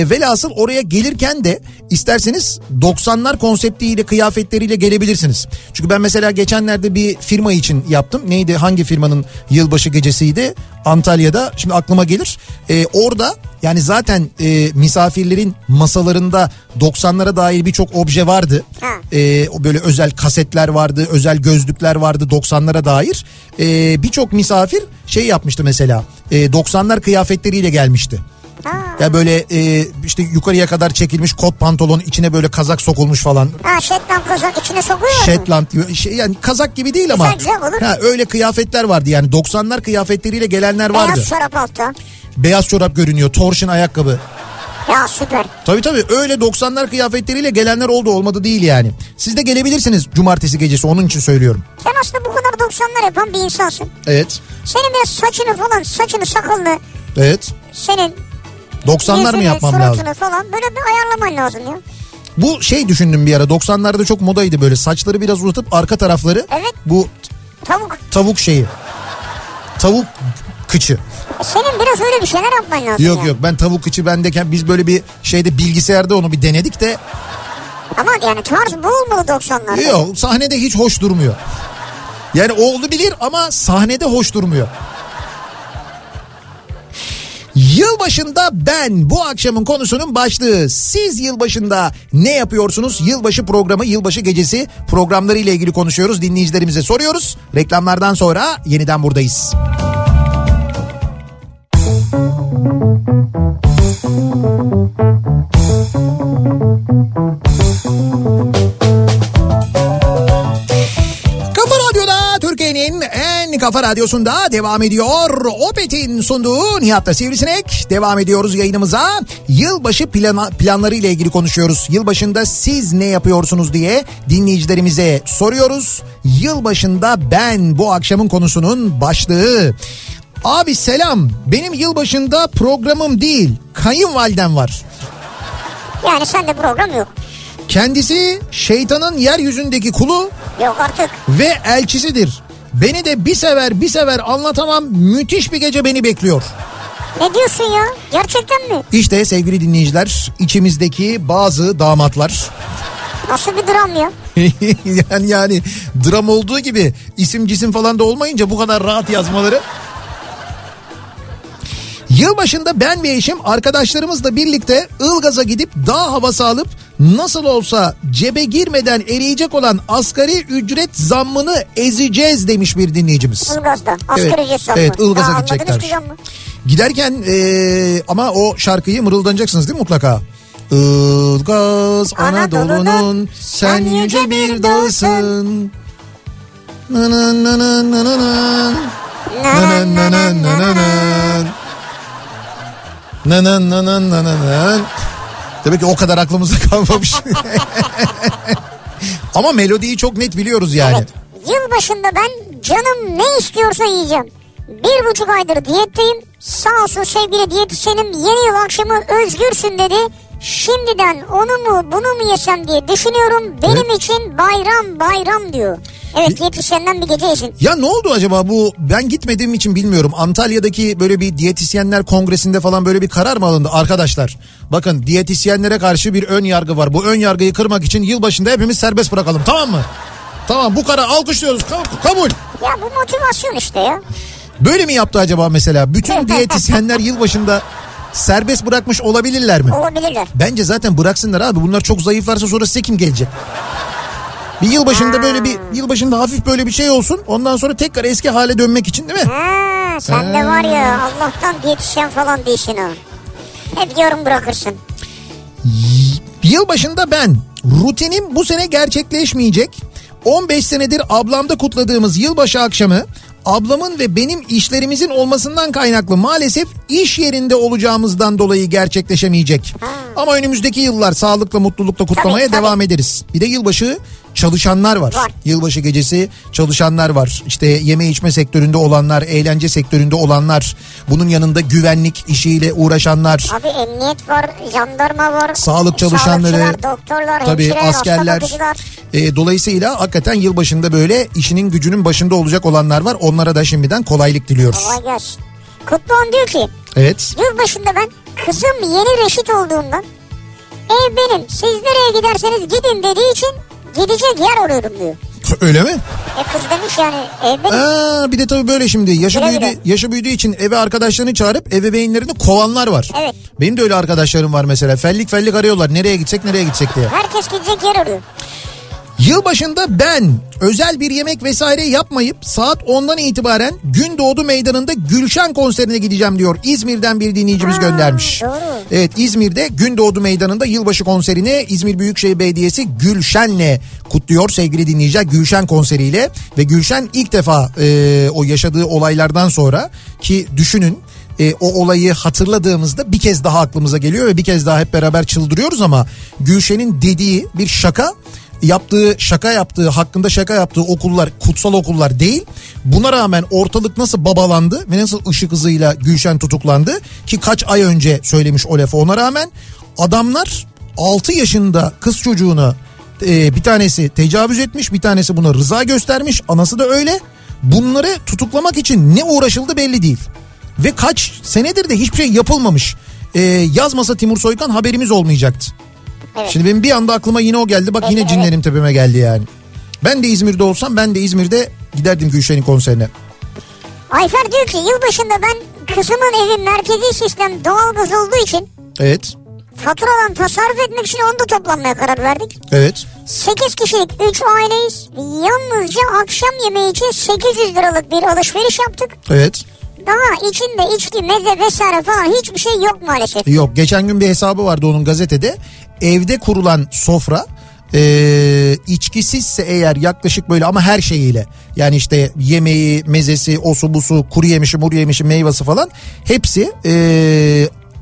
C: velhasıl oraya gelirken de isterseniz 90'lar konseptiyle kıyafetleriyle gelebilirsiniz. Çünkü ben mesela geçenlerde bir firma için yaptım. Neydi hangi firmanın yılbaşı gecesiydi? Antalya'da şimdi aklıma gelir. Ee, orada yani zaten e, misafirlerin masalarında 90'lara dair birçok obje vardı.
D: Ha.
C: Ee, o böyle özel kasetler vardı, özel gözlükler vardı 90'lara dair. Ee, birçok misafir şey yapmıştı mesela. e, 90'lar kıyafetleriyle gelmişti. Ya böyle e, işte yukarıya kadar çekilmiş kot pantolon içine böyle kazak sokulmuş falan.
D: Ha Shetland kozak içine sokuyor mu?
C: Shetland gibi- şey yani kazak gibi değil ama.
D: Güzel, güzel olur.
C: Ha, öyle kıyafetler vardı yani 90'lar kıyafetleriyle gelenler vardı.
D: Beyaz çorap altta.
C: Beyaz çorap görünüyor, torşun ayakkabı.
D: Ya süper.
C: Tabii tabii öyle 90'lar kıyafetleriyle gelenler oldu olmadı değil yani. Siz de gelebilirsiniz cumartesi gecesi onun için söylüyorum.
D: Sen aslında bu kadar 90'lar yapan bir insansın.
C: Evet.
D: Senin biraz saçını falan saçını sakalını
C: Evet.
D: senin
C: 90'lar mı
D: yüzünü,
C: yapmam lazım?
D: suratını falan böyle bir ayarlaman lazım ya.
C: Bu şey düşündüm bir ara 90'larda çok modaydı böyle saçları biraz uzatıp arka tarafları
D: Evet.
C: bu
D: Tavuk.
C: tavuk şeyi. Tavuk kıçı.
D: E, Senin biraz öyle bir şeyler yapman lazım
C: Yok
D: ya.
C: yok ben tavuk kıçı bendeyken biz böyle bir şeyde bilgisayarda onu bir denedik de
D: Ama yani tarz bu olmalı 90'larda.
C: yok sahnede hiç hoş durmuyor. Yani oldu bilir ama sahnede hoş durmuyor. Yılbaşında ben bu akşamın konusunun başlığı. Siz yılbaşında ne yapıyorsunuz? Yılbaşı programı, yılbaşı gecesi programları ile ilgili konuşuyoruz. Dinleyicilerimize soruyoruz. Reklamlardan sonra yeniden buradayız. Kafa Radyo'da Türkiye'nin en kafa radyosunda devam ediyor. Opet'in sunduğu Nihat'ta Sivrisinek. Devam ediyoruz yayınımıza. Yılbaşı plana, planları ile ilgili konuşuyoruz. Yılbaşında siz ne yapıyorsunuz diye dinleyicilerimize soruyoruz. Yılbaşında ben bu akşamın konusunun başlığı. Abi selam benim yılbaşında programım değil kayınvalidem var.
D: Yani sende program yok.
C: Kendisi şeytanın yeryüzündeki kulu
D: Yok artık.
C: ve elçisidir. Beni de bir sever bir sever anlatamam müthiş bir gece beni bekliyor.
D: Ne diyorsun ya? Gerçekten mi?
C: İşte sevgili dinleyiciler içimizdeki bazı damatlar
D: Nasıl bir dram ya?
C: yani yani dram olduğu gibi isim cisim falan da olmayınca bu kadar rahat yazmaları. Yılbaşında ben ve eşim arkadaşlarımızla birlikte Ilgaz'a gidip dağ havası alıp nasıl olsa cebe girmeden eriyecek olan asgari ücret zammını ezeceğiz demiş bir dinleyicimiz.
D: Ilgaz'da. Asgari
C: Evet,
D: ücret zammı.
C: evet, Ilgaz'a
D: Daha
C: gidecekler.
D: almadınız ki zammı.
C: Giderken ee, ama o şarkıyı mırıldanacaksınız değil mi mutlaka? Ilgaz Anadolu'nun sen yüce bir dağısın. Na na na na na na na. Na na na na na na na. Na na na na na na na. Demek ki o kadar aklımızda kalmamış. Ama melodiyi çok net biliyoruz yani.
D: Evet. Yılbaşında ben canım ne istiyorsa yiyeceğim. Bir buçuk aydır diyetteyim. Sağ olsun sevgili diyetisyenim yeni yıl akşamı özgürsün dedi. Şimdiden onu mu bunu mu yesem diye düşünüyorum. Benim için bayram bayram diyor. Evet diyetisyenden bir gece yesin.
C: Ya ne oldu acaba bu ben gitmediğim için bilmiyorum. Antalya'daki böyle bir diyetisyenler kongresinde falan böyle bir karar mı alındı arkadaşlar? Bakın diyetisyenlere karşı bir ön yargı var. Bu ön yargıyı kırmak için yılbaşında hepimiz serbest bırakalım tamam mı? Tamam bu karar alkışlıyoruz Ka- kabul.
D: Ya bu motivasyon işte ya.
C: Böyle mi yaptı acaba mesela? Bütün diyetisyenler yılbaşında serbest bırakmış olabilirler mi?
D: Olabilirler.
C: Bence zaten bıraksınlar abi. Bunlar çok zayıflarsa sonra size kim gelecek? Bir yılbaşında böyle bir yılbaşında hafif böyle bir şey olsun. Ondan sonra tekrar eski hale dönmek için değil mi?
D: Ha, sen de var ya Allah'tan diyetisyen falan değilsin ha. Hep yorum bırakırsın.
C: Yılbaşında ben rutinim bu sene gerçekleşmeyecek. 15 senedir ablamda kutladığımız yılbaşı akşamı ablamın ve benim işlerimizin olmasından kaynaklı maalesef iş yerinde olacağımızdan dolayı gerçekleşemeyecek. Ama önümüzdeki yıllar sağlıkla mutlulukla kutlamaya
D: Hmm. Tabii, tabii.
C: devam ederiz. Bir de yılbaşı çalışanlar var.
D: Var.
C: Yılbaşı gecesi çalışanlar var. İşte yeme içme sektöründe olanlar, eğlence sektöründe olanlar, bunun yanında güvenlik işiyle uğraşanlar,
D: Abi emniyet var, jandarma var.
C: sağlık çalışanları,
D: sağlıkçılar, doktorlar,
C: tabii
D: hemşireler,
C: askerler.
D: askerler.
C: E, dolayısıyla hakikaten yılbaşında böyle işinin gücünün başında olacak olanlar var. Onlara da şimdiden kolaylık diliyoruz.
D: Kolay gelsin. Kutluhan diyor ki
C: Evet.
D: yılbaşında ben kızım yeni reşit olduğundan ev benim siz nereye giderseniz gidin dediği için gidecek yer arıyorum diyor.
C: Öyle mi?
D: E kız demiş yani evde
C: Aa, bir de tabii böyle şimdi yaşı
D: Güle
C: büyüdü,
D: güle.
C: yaşı büyüdüğü için eve arkadaşlarını çağırıp eve beyinlerini kovanlar var.
D: Evet.
C: Benim de öyle arkadaşlarım var mesela. Fellik fellik arıyorlar. Nereye gitsek nereye gitsek diye.
D: herkes gidecek yer arıyor.
C: Yılbaşında ben özel bir yemek vesaire yapmayıp saat 10'dan itibaren gün doğdu meydanında Gülşen konserine gideceğim diyor. İzmir'den bir dinleyicimiz göndermiş.
D: doğru.
C: Evet İzmir'de gün doğdu meydanında yılbaşı konserini İzmir Büyükşehir Belediyesi Gülşen'le kutluyor sevgili dinleyiciler. Gülşen konseriyle ve Gülşen ilk defa e, o yaşadığı olaylardan sonra ki düşünün e, o olayı hatırladığımızda bir kez daha aklımıza geliyor ve bir kez daha hep beraber çıldırıyoruz ama Gülşen'in dediği bir şaka yaptığı şaka yaptığı hakkında şaka yaptığı okullar kutsal okullar değil. Buna rağmen ortalık nasıl babalandı ve nasıl ışık hızıyla Gülşen tutuklandı ki kaç ay önce söylemiş o lafı ona rağmen adamlar 6 yaşında kız çocuğuna e, bir tanesi tecavüz etmiş bir tanesi buna rıza göstermiş anası da öyle. Bunları tutuklamak için ne uğraşıldı belli değil ve kaç senedir de hiçbir şey yapılmamış. E, yazmasa Timur Soykan haberimiz olmayacaktı. Şimdi benim bir anda aklıma yine o geldi. Bak yine
D: Evet,
C: cinlerim tepeme geldi yani. Ben de İzmir'de olsam ben de İzmir'de giderdim Gülşen'in konserine.
D: Ayfer diyor ki yılbaşında ben kızımın evi merkezi sistem doğalgaz olduğu için
C: Evet.
D: faturadan tasarruf etmek için onu da toplanmaya karar verdik.
C: Evet.
D: 8 kişilik 3 aileyiz. Yalnızca akşam yemeği için 800 liralık bir alışveriş yaptık.
C: Evet.
D: Daha içinde içki, meze vesaire falan hiçbir şey yok maalesef.
C: Yok geçen gün bir hesabı vardı onun gazetede. Evde kurulan sofra e, içkisizse eğer yaklaşık böyle ama her şeyiyle yani işte yemeği, mezesi, osu busu, kuru yemişi, muru yemişi, meyvesi falan hepsi e,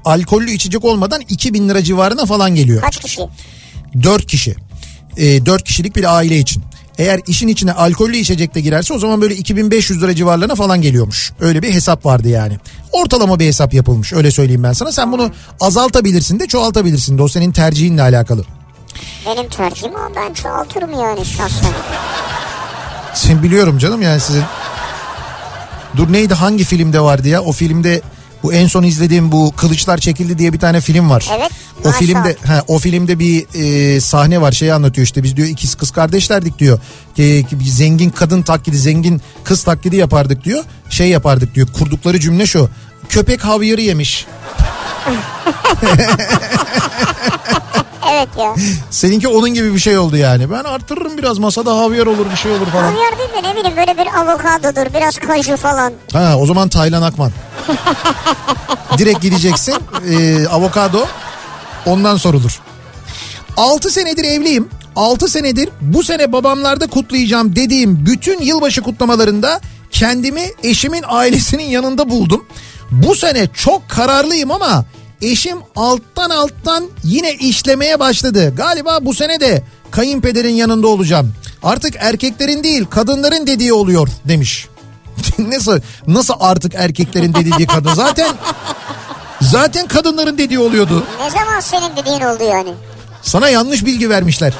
C: alkollü içecek olmadan 2000 lira civarına falan geliyor.
D: Kaç kişi?
C: 4 kişi. E, 4 kişilik bir aile için. Eğer işin içine alkollü içecek de girerse o zaman böyle 2500 lira civarlarına falan geliyormuş. Öyle bir hesap vardı yani. Ortalama bir hesap yapılmış öyle söyleyeyim ben sana. Sen bunu azaltabilirsin de çoğaltabilirsin de o senin tercihinle alakalı.
D: Benim tercihim ama ben çoğaltırım yani şahsen.
C: Şimdi biliyorum canım yani sizin. Dur neydi hangi filmde vardı ya? O filmde bu en son izlediğim bu Kılıçlar Çekildi diye bir tane film var.
D: Evet,
C: O
D: Marshall.
C: filmde ha, o filmde bir e, sahne var şeyi anlatıyor işte biz diyor ikiz kız kardeşlerdik diyor. E, ki bir zengin kadın taklidi zengin kız taklidi yapardık diyor. Şey yapardık diyor kurdukları cümle şu köpek havyarı yemiş.
D: Evet ya.
C: Seninki onun gibi bir şey oldu yani. Ben arttırırım biraz masada havyar olur bir şey olur falan.
D: Havyar değil de ne bileyim böyle bir avokadodur, biraz kaju falan.
C: Ha o zaman Taylan Akman. Direkt gideceksin e, avokado ondan sorulur. 6 senedir evliyim. 6 senedir bu sene babamlarda kutlayacağım dediğim bütün yılbaşı kutlamalarında kendimi eşimin ailesinin yanında buldum. Bu sene çok kararlıyım ama eşim alttan alttan yine işlemeye başladı. Galiba bu sene de kayınpederin yanında olacağım. Artık erkeklerin değil kadınların dediği oluyor demiş. nasıl nasıl artık erkeklerin dediği kadın zaten zaten kadınların dediği oluyordu.
D: Ne zaman senin dediğin oldu yani?
C: Sana yanlış bilgi vermişler.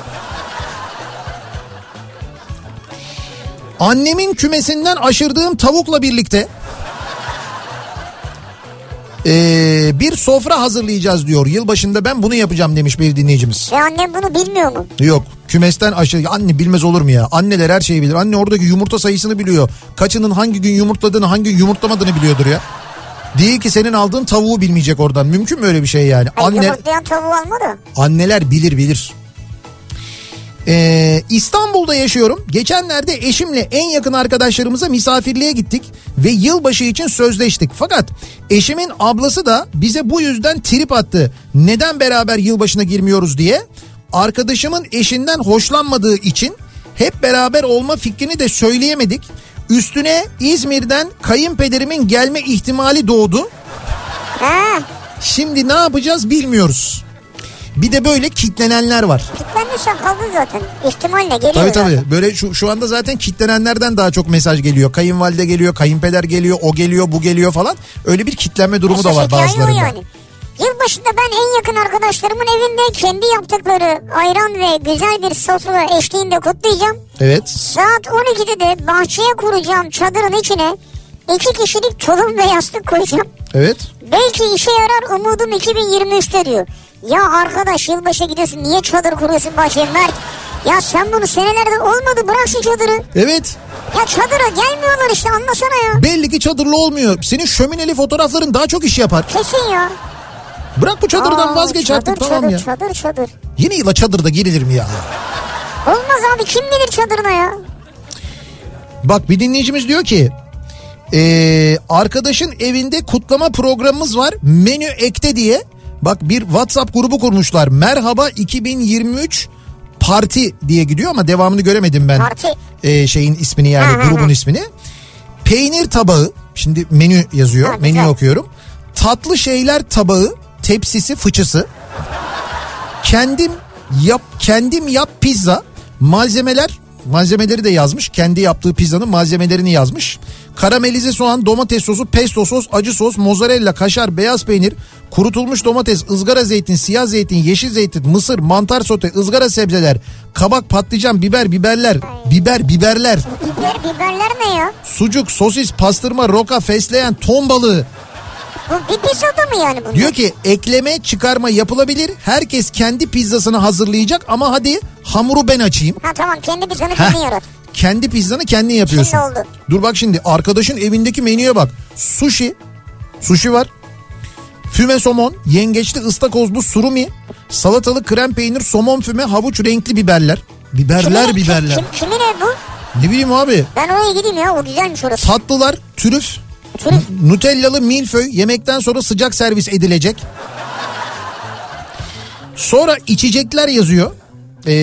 C: Annemin kümesinden aşırdığım tavukla birlikte eee, e, bir sofra hazırlayacağız diyor. Yılbaşında ben bunu yapacağım demiş bir dinleyicimiz.
D: Ve annem bunu bilmiyor mu?
C: Yok kümesten aşırı anne bilmez olur mu ya? Anneler her şeyi bilir. Anne oradaki yumurta sayısını biliyor. Kaçının hangi gün yumurtladığını hangi gün yumurtlamadığını biliyordur ya. Değil ki senin aldığın tavuğu bilmeyecek oradan. Mümkün mü öyle bir şey yani?
D: Anne...
C: Anne,
D: Yumurtlayan tavuğu alma da.
C: Anneler bilir bilir. Ee, İstanbul'da yaşıyorum. Geçenlerde eşimle en yakın arkadaşlarımıza misafirliğe gittik ve yılbaşı için sözleştik. Fakat eşimin ablası da bize bu yüzden trip attı. Neden beraber yılbaşına girmiyoruz diye. Arkadaşımın eşinden hoşlanmadığı için hep beraber olma fikrini de söyleyemedik. Üstüne İzmir'den kayınpederimin gelme ihtimali doğdu.
D: Ha,
C: Şimdi ne yapacağız bilmiyoruz. Bir de böyle kitlenenler var.
D: kitlenmişsen kaldın zaten. İhtimalle geliyor.
C: Tabii
D: zaten.
C: tabii. Böyle şu, şu anda zaten kitlenenlerden daha çok mesaj geliyor. Kayınvalide geliyor, kayınpeder geliyor, o geliyor, bu geliyor falan. Öyle bir kitlenme durumu da
D: Esas
C: var
D: hikaye o
C: bazılarında.
D: Yani. Yılbaşında ben en yakın arkadaşlarımın evinde kendi yaptıkları ayran ve güzel bir sofra eşliğinde kutlayacağım.
C: Evet.
D: Saat 12'de de bahçeye kuracağım çadırın içine iki kişilik tulum ve yastık koyacağım.
C: Evet.
D: Belki işe yarar umudum 2023'te diyor. Ya arkadaş yılbaşı gidiyorsun niye çadır kuruyorsun bahçeye Mert? Ya sen bunu senelerde olmadı bırak şu çadırı.
C: Evet.
D: Ya çadıra gelmiyorlar işte anlasana ya.
C: Belli ki çadırlı olmuyor. Senin şömineli fotoğrafların daha çok iş yapar.
D: Kesin ya.
C: Bırak bu çadırdan
D: Aa,
C: vazgeç
D: çadır,
C: artık tamam
D: çadır,
C: ya.
D: Çadır çadır.
C: Yeni yıla çadırda girilir mi ya?
D: Olmaz abi kim bilir çadırına ya.
C: Bak bir dinleyicimiz diyor ki eee, arkadaşın evinde kutlama programımız var menü ekte diye. Bak bir WhatsApp grubu kurmuşlar. Merhaba 2023 parti diye gidiyor ama devamını göremedim ben.
D: Parti.
C: Eee, şeyin ismini yani
D: Ha, ha,
C: grubun
D: ha.
C: ismini. Peynir tabağı şimdi menü yazıyor
D: Ha,
C: menüyü
D: güzel.
C: okuyorum. Tatlı şeyler tabağı tepsisi fıçısı. Kendim yap kendim yap pizza. Malzemeler malzemeleri de yazmış. Kendi yaptığı pizzanın malzemelerini yazmış. Karamelize soğan, domates sosu, pesto sos, acı sos, mozzarella, kaşar, beyaz peynir, kurutulmuş domates, ızgara zeytin, siyah zeytin, yeşil zeytin, mısır, mantar sote, ızgara sebzeler, kabak, patlıcan, biber, biberler, biber, biberler,
D: Biber, biberler ne ya?
C: sucuk, sosis, pastırma, roka, fesleğen, ton balığı,
D: Bu bir pizza mı yani bunlar?
C: Diyor ki ekleme çıkarma yapılabilir. Herkes kendi pizzasını hazırlayacak ama hadi hamuru ben açayım.
D: Ha tamam kendi pizzanı
C: Heh.
D: kendin yarat.
C: Kendi pizzanı kendin yapıyorsun.
D: Şimdi oldu.
C: Dur bak şimdi arkadaşın evindeki menüye bak. Sushi. Sushi var. Füme somon, yengeçli ıstakozlu surumi, salatalı krem peynir, somon füme, havuç renkli biberler. Biberler
D: Kimin-
C: biberler.
D: Kim, kimin evi bu?
C: Ne bileyim abi.
D: Ben oraya gideyim ya o güzelmiş orası.
C: Tatlılar, türüf,
D: Türüf.
C: Nutellalı milföy yemekten sonra sıcak servis edilecek. Sonra içecekler yazıyor. Ee,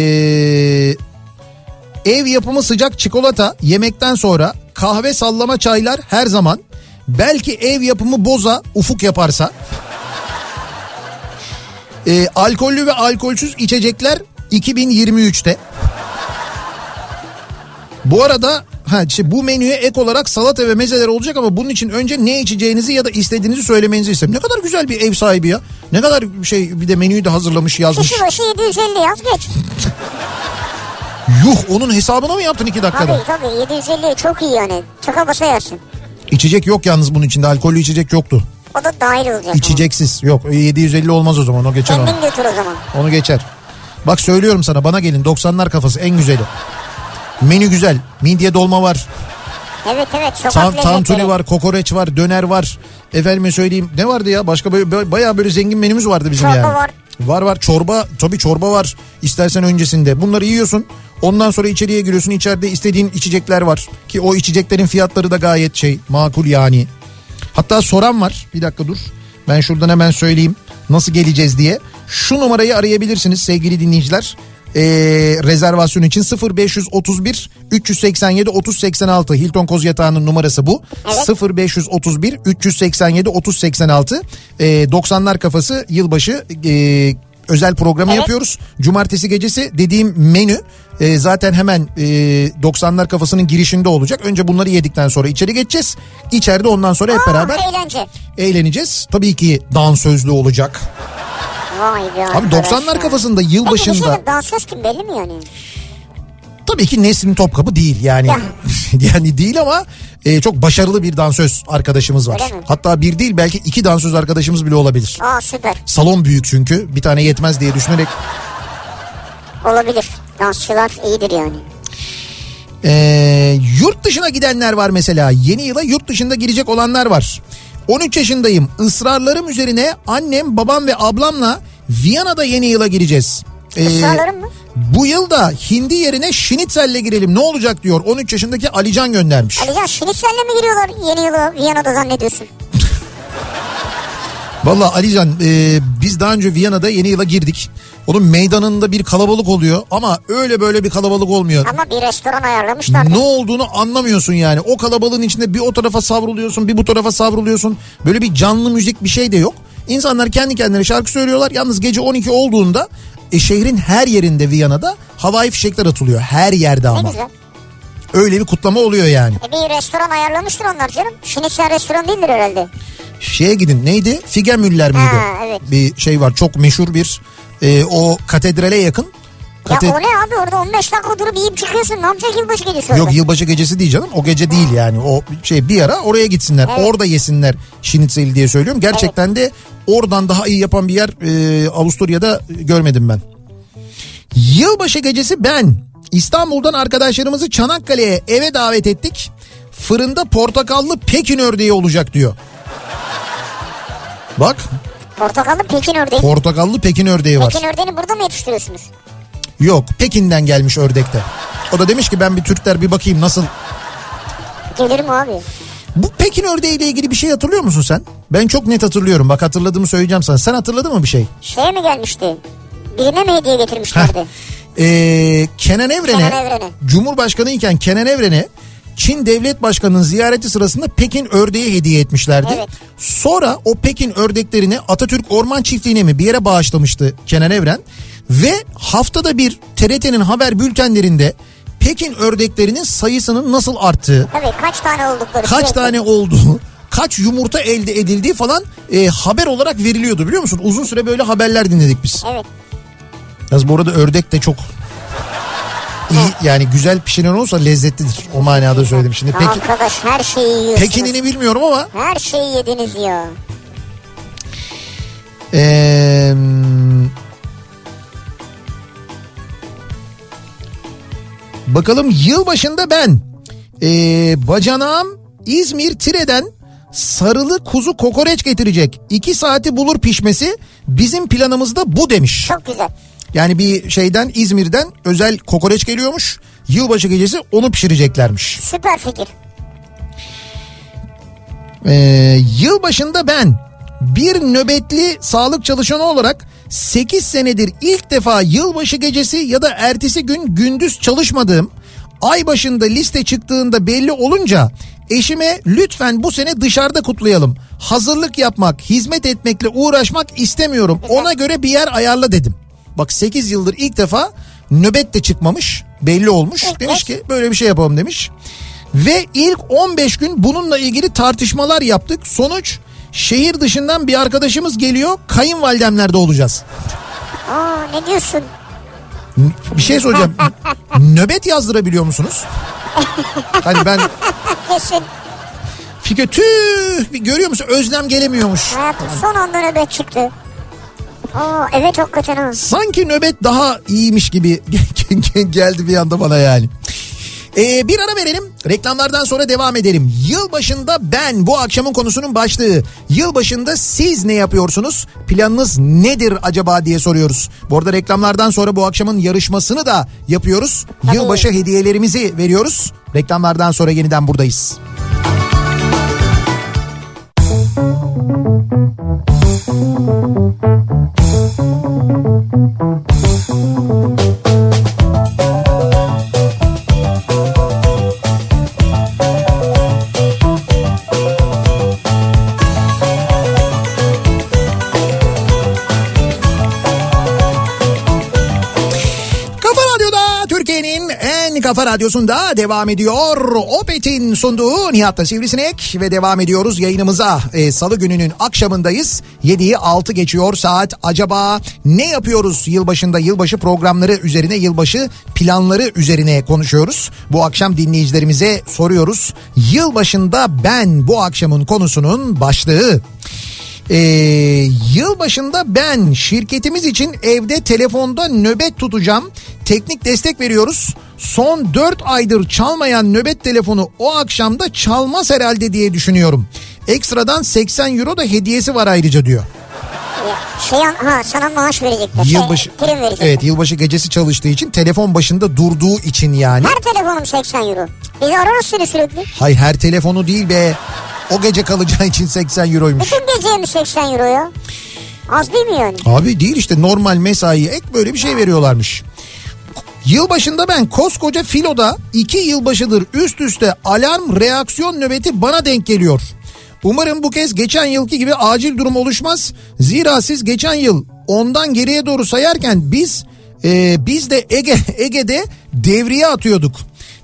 C: ev yapımı sıcak çikolata yemekten sonra kahve sallama çaylar her zaman. Belki ev yapımı boza ufuk yaparsa. Ee, alkollü ve alkolsüz içecekler 2023'te. Bu arada ha, işte bu menüye ek olarak salata ve mezeler olacak ama bunun için önce ne içeceğinizi ya da istediğinizi söylemenizi isterim. Ne kadar güzel bir ev sahibi ya. Ne kadar şey bir de menüyü de hazırlamış yazmış.
D: Kişi başı 750 yaz geç.
C: Yuh onun hesabını mı yaptın iki dakikada?
D: Tabii tabii 750 çok iyi yani. Çaka basa yersin.
C: İçecek yok yalnız bunun içinde alkollü içecek yoktu.
D: O da dahil olacak.
C: İçeceksiz yok E, 750 olmaz o zaman o geçer
D: Ama.
C: onu.
D: Kendin götür o zaman.
C: Onu geçer. Bak söylüyorum sana bana gelin 90'lar kafası en güzeli. Menü güzel. Midye dolma var.
D: Evet evet sokak
C: Tam,
D: lezzetleri.
C: tantuni var, kokoreç var, döner var. Efendime söyleyeyim ne vardı ya? Başka böyle, böyle- bayağı böyle zengin menümüz vardı bizim
D: Çorba
C: yani.
D: var.
C: Var var çorba tabii çorba var istersen öncesinde. Bunları yiyorsun ondan sonra içeriye giriyorsun içeride istediğin içecekler var. Ki o içeceklerin fiyatları da gayet şey makul yani. Hatta soran var bir dakika dur ben şuradan hemen söyleyeyim nasıl geleceğiz diye. Şu numarayı arayabilirsiniz sevgili dinleyiciler. Ee, rezervasyon için 0531 387 3086 Hilton Koz Yatağı'nın numarası bu. 0531 387 3086 ee, 90'lar kafası yılbaşı ee, özel programı yapıyoruz. Cumartesi gecesi dediğim menü e, zaten hemen e, 90'lar kafasının girişinde olacak. Önce bunları yedikten sonra içeri geçeceğiz. İçeride ondan sonra hep
D: Aa, e-
C: beraber
D: Eğlence.
C: eğleneceğiz. Tabii ki dansözlü olacak.
D: Vay be
C: Abi 90'lar kafasında
D: Peki bir şey
C: yılbaşında
D: diyeyim, dansöz kim belli mi yani?
C: tabii ki Nesrin Topkapı değil yani.
D: Ya.
C: yani değil ama e, çok başarılı bir dansöz arkadaşımız var.
D: Öyle mi?
C: Hatta bir değil belki iki dansöz arkadaşımız bile olabilir.
D: Aa süper
C: Salon büyük çünkü. Bir tane yetmez diye düşünerek
D: olabilir. Dansçılar iyidir yani.
C: Ee, yurt dışına gidenler var mesela. Yeni yıla yurt dışında girecek olanlar var. 13 yaşındayım. Israrlarım üzerine annem, babam ve ablamla Viyana'da yeni yıla gireceğiz. Ee,
D: Israrlarım mı?
C: Bu yıl da hindi yerine şinitzelle girelim ne olacak diyor 13 yaşındaki Alican göndermiş.
D: Alican şinitserle mi giriyorlar yeni yıla Viyana'da zannediyorsun?
C: Valla Alican e, biz daha önce Viyana'da yeni yıla girdik. Onun meydanında bir kalabalık oluyor ama öyle böyle bir kalabalık olmuyor.
D: Ama bir restoran ayarlamışlar.
C: Ne olduğunu anlamıyorsun yani. O kalabalığın içinde bir o tarafa savruluyorsun, bir bu tarafa savruluyorsun. Böyle bir canlı müzik bir şey de yok. İnsanlar kendi kendine şarkı söylüyorlar. Yalnız gece 12 olduğunda e, şehrin her yerinde Viyana'da havai fişekler atılıyor. Her yerde
D: Ne
C: ama.
D: güzel.
C: Öyle bir kutlama oluyor yani.
D: E bir restoran ayarlamıştır onlar canım. Şinitser restoran değildir herhalde.
C: Şeye gidin neydi? Figemüller miydi?
D: Ha, evet.
C: Bir şey var çok meşhur bir e, o katedrale yakın. Kate-
D: Ya o ne abi orada 15 dakika durup yiyip çıkıyorsun. Ne yapacak yılbaşı gecesi orada?
C: Yok yılbaşı gecesi değil canım. O gece değil yani. O şey bir ara oraya gitsinler.
D: Evet.
C: Orada yesinler şinitzeli diye söylüyorum. Gerçekten de oradan daha iyi yapan bir yer e, Avusturya'da görmedim ben. Yılbaşı gecesi ben İstanbul'dan arkadaşlarımızı Çanakkale'ye eve davet ettik. Fırında portakallı Pekin ördeği olacak diyor. Bak
D: Portakallı Pekin ördeği.
C: portakallı Pekin ördeği var.
D: Pekin ördeğini burada mı yetiştiriyorsunuz?
C: Yok Pekin'den gelmiş ördekte. O da demiş ki ben bir Türkler bir bakayım nasıl.
D: Gelir mi abi?
C: Bu Pekin ördeğiyle ilgili bir şey hatırlıyor musun sen? Ben çok net hatırlıyorum. Bak hatırladığımı söyleyeceğim sana. Sen hatırladın mı bir şey?
D: Şeye mi gelmişti? Birine mi hediye getirmişlerdi?
C: Heh. Ee, Kenan Evren'e
D: Kenan Evren'e.
C: Cumhurbaşkanı iken Kenan Evren'e Çin Devlet Başkanı'nın ziyareti sırasında Pekin ördeği hediye etmişlerdi.
D: Evet.
C: Sonra o Pekin ördeklerini Atatürk Orman Çiftliği'ne mi bir yere bağışlamıştı Kenan Evren. Ve haftada bir TRT'nin haber bültenlerinde Pekin ördeklerinin sayısının nasıl arttığı,
D: Tabii kaç tane oldukları.
C: kaç
D: sürekli.
C: tane olduğu, kaç yumurta elde edildiği falan e, haber olarak veriliyordu biliyor musun? Uzun süre böyle haberler dinledik biz.
D: Evet.
C: Yalnız bu arada ördek de çok iyi yani güzel pişiren olsa lezzetlidir. O manada söyledim şimdi. Peki,
D: Arkadaş her şeyi yiyorsunuz.
C: Pekin'ini bilmiyorum ama
D: Her şeyi yediniz ya.
C: eee, bakalım yılbaşında ben eee bacanağım İzmir Tire'den sarılı kuzu kokoreç getirecek. İki saati bulur pişmesi bizim planımızda bu demiş.
D: Çok güzel.
C: Yani bir şeyden İzmir'den özel kokoreç geliyormuş. Yılbaşı gecesi onu pişireceklermiş.
D: Süper fikir.
C: Ee, yılbaşında ben bir nöbetli sağlık çalışanı olarak 8 senedir ilk defa yılbaşı gecesi ya da ertesi gün gündüz çalışmadığım ay başında liste çıktığında belli olunca eşime lütfen bu sene dışarıda kutlayalım. Hazırlık yapmak, hizmet etmekle uğraşmak istemiyorum. Ona göre bir yer ayarla dedim. Bak 8 yıldır ilk defa nöbet de çıkmamış belli olmuş.
D: Evet.
C: Demiş ki böyle bir şey yapalım demiş. Ve ilk 15 gün bununla ilgili tartışmalar yaptık. Sonuç şehir dışından bir arkadaşımız geliyor. Kayınvalidemlerde olacağız.
D: Aa ne diyorsun?
C: N- Bir şey soracağım. Nöbet yazdırabiliyor musunuz? Hani ben
D: Kesin.
C: Fikre tüh bir görüyor musun? Özlem gelemiyormuş.
D: Hayatım son anda nöbet çıktı. Aa evet hakikaten ha.
C: Sanki nöbet daha iyiymiş gibi geldi bir anda bana yani. Ee, bir ara verelim. Reklamlardan sonra devam edelim. Yılbaşında ben bu akşamın konusunun başlığı. Yılbaşında siz ne yapıyorsunuz? Planınız nedir acaba diye soruyoruz. Bu arada reklamlardan sonra bu akşamın yarışmasını da yapıyoruz. Yılbaşı hediyelerimizi veriyoruz. Reklamlardan sonra yeniden buradayız. Kafa Radyo'da Türkiye'nin en kafa radyosunda devam ediyor. Opet'in sunduğu Nihat'ta Sivrisinek ve devam ediyoruz yayınımıza. Ee, Salı gününün akşamındayız. 7'yi 6 geçiyor saat. Acaba ne yapıyoruz yılbaşında? Yılbaşı programları üzerine, yılbaşı planları üzerine konuşuyoruz. Bu akşam dinleyicilerimize soruyoruz. Yılbaşında ben bu akşamın konusunun başlığı. Ee, yılbaşında ben şirketimiz için evde telefonda nöbet tutacağım. Teknik destek veriyoruz. Son 4 aydır çalmayan nöbet telefonu o akşamda çalmaz herhalde diye düşünüyorum. Ekstradan 80 euro da hediyesi var ayrıca diyor.
D: Ya, Şey an- ha sana maaş verecekler.
C: Yılbaşı
D: Şey, prim verecekler.
C: Evet yılbaşı gecesi çalıştığı için telefon başında durduğu için yani.
D: Her telefonum 80 euro. Bizi ararız seni sürekli.
C: Hay her telefonu değil be. O gece kalacağı için 80 euroymuş.
D: Bütün geceye mi 80 euro ya? Az değil mi yani?
C: Abi değil işte normal mesai ek böyle bir şey veriyorlarmış. Yılbaşında ben koskoca filoda iki yılbaşıdır üst üste alarm reaksiyon nöbeti bana denk geliyor. Umarım bu kez geçen yılki gibi acil durum oluşmaz. Zira siz geçen yıl ondan geriye doğru sayarken biz e, biz de Ege Ege'de devriye atıyorduk.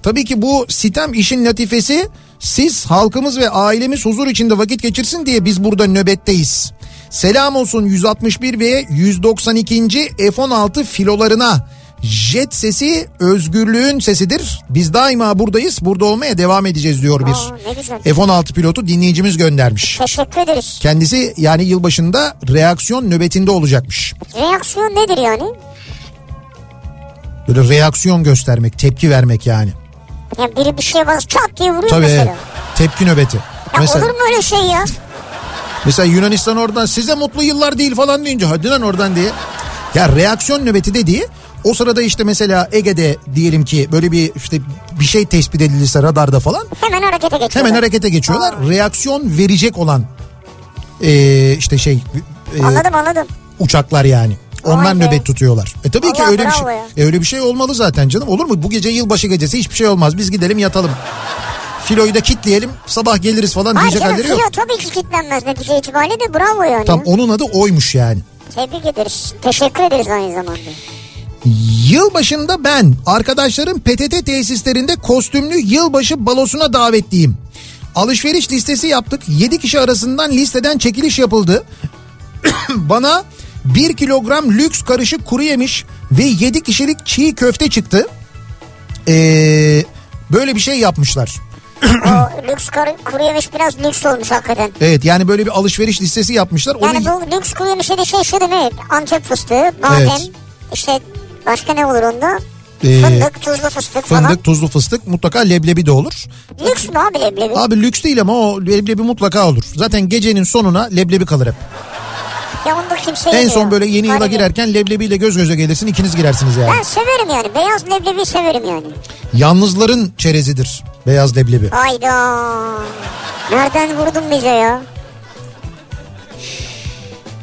C: Tabii ki bu sitem işin latifesi siz halkımız ve ailemiz huzur içinde vakit geçirsin diye biz burada nöbetteyiz. Selam olsun 161 ve 192. F-16 filolarına. Jet sesi özgürlüğün sesidir. Biz daima buradayız. Burada olmaya devam edeceğiz diyor bir
D: Aa, ne güzel.
C: F-16 pilotu dinleyicimiz göndermiş.
D: Teşekkür ederiz.
C: Kendisi yani yılbaşında reaksiyon nöbetinde olacakmış.
D: Reaksiyon nedir yani?
C: Böyle reaksiyon göstermek, tepki vermek yani.
D: Ya biri bir şeye bas çat diye vuruyor
C: Tabii
D: mesela.
C: evet. tepki nöbeti.
D: Ya olur mu öyle şey ya?
C: Mesela Yunanistan oradan size mutlu yıllar değil falan deyince hadi lan oradan diye. Ya reaksiyon nöbeti dediği o sırada işte mesela Ege'de diyelim ki böyle bir işte bir şey tespit edilirse radarda falan
D: Hemen harekete geçiyor.
C: hemen harekete geçiyorlar. Reaksiyon verecek olan eee, işte şey eee,
D: Anladım anladım.
C: uçaklar yani. Onlar
D: Vay be.
C: nöbet tutuyorlar. E tabii ki
D: Allah
C: öyle bir
D: bravo
C: şey.
D: ya.
C: e öyle bir şey olmalı zaten canım. Olur mu? Bu gece yılbaşı gecesi hiçbir şey olmaz. Biz gidelim yatalım. Filoyu da kitleyelim. Sabah geliriz falan
D: Hayır
C: diyecek
D: canım
C: halleri yok.
D: filo tabii ki kilitlenmez netice itibariyle de bravo yani.
C: Tam onun adı oymuş yani.
D: Tebrik ederiz. Teşekkür ederiz aynı zamanda.
C: Yılbaşında ben arkadaşlarım PTT tesislerinde kostümlü yılbaşı balosuna davetliyim. Alışveriş listesi yaptık. 7 kişi arasından listeden çekiliş yapıldı. Bana 1 kilogram lüks karışık kuru yemiş ve 7 kişilik çiğ köfte çıktı. Ee, böyle bir şey yapmışlar.
D: o lüks kar- kuru yemiş biraz lüks olmuş hakikaten.
C: Evet yani böyle bir alışveriş listesi yapmışlar. Onu-
D: Yani bu lüks kuru yemişe de şey şu değil mi? Antep fıstığı, badem,
C: Evet.
D: işte başka ne olur onda?
C: Ee,
D: fındık, tuzlu fıstık falan.
C: Fındık, tuzlu fıstık mutlaka leblebi de olur.
D: Lüks mü abi leblebi?
C: Abi lüks değil ama o leblebi mutlaka olur. Zaten gecenin sonuna leblebi kalır hep.
D: Ya onu da kimse
C: En
D: yemiyor.
C: son böyle yeni yıla
D: Harbi.
C: girerken leblebiyle göz göze gelirsin ikiniz girersiniz yani.
D: Ben severim yani. Beyaz leblebi severim yani.
C: Yalnızların çerezidir beyaz leblebi.
D: Hayda. Nereden vurdun bize ya?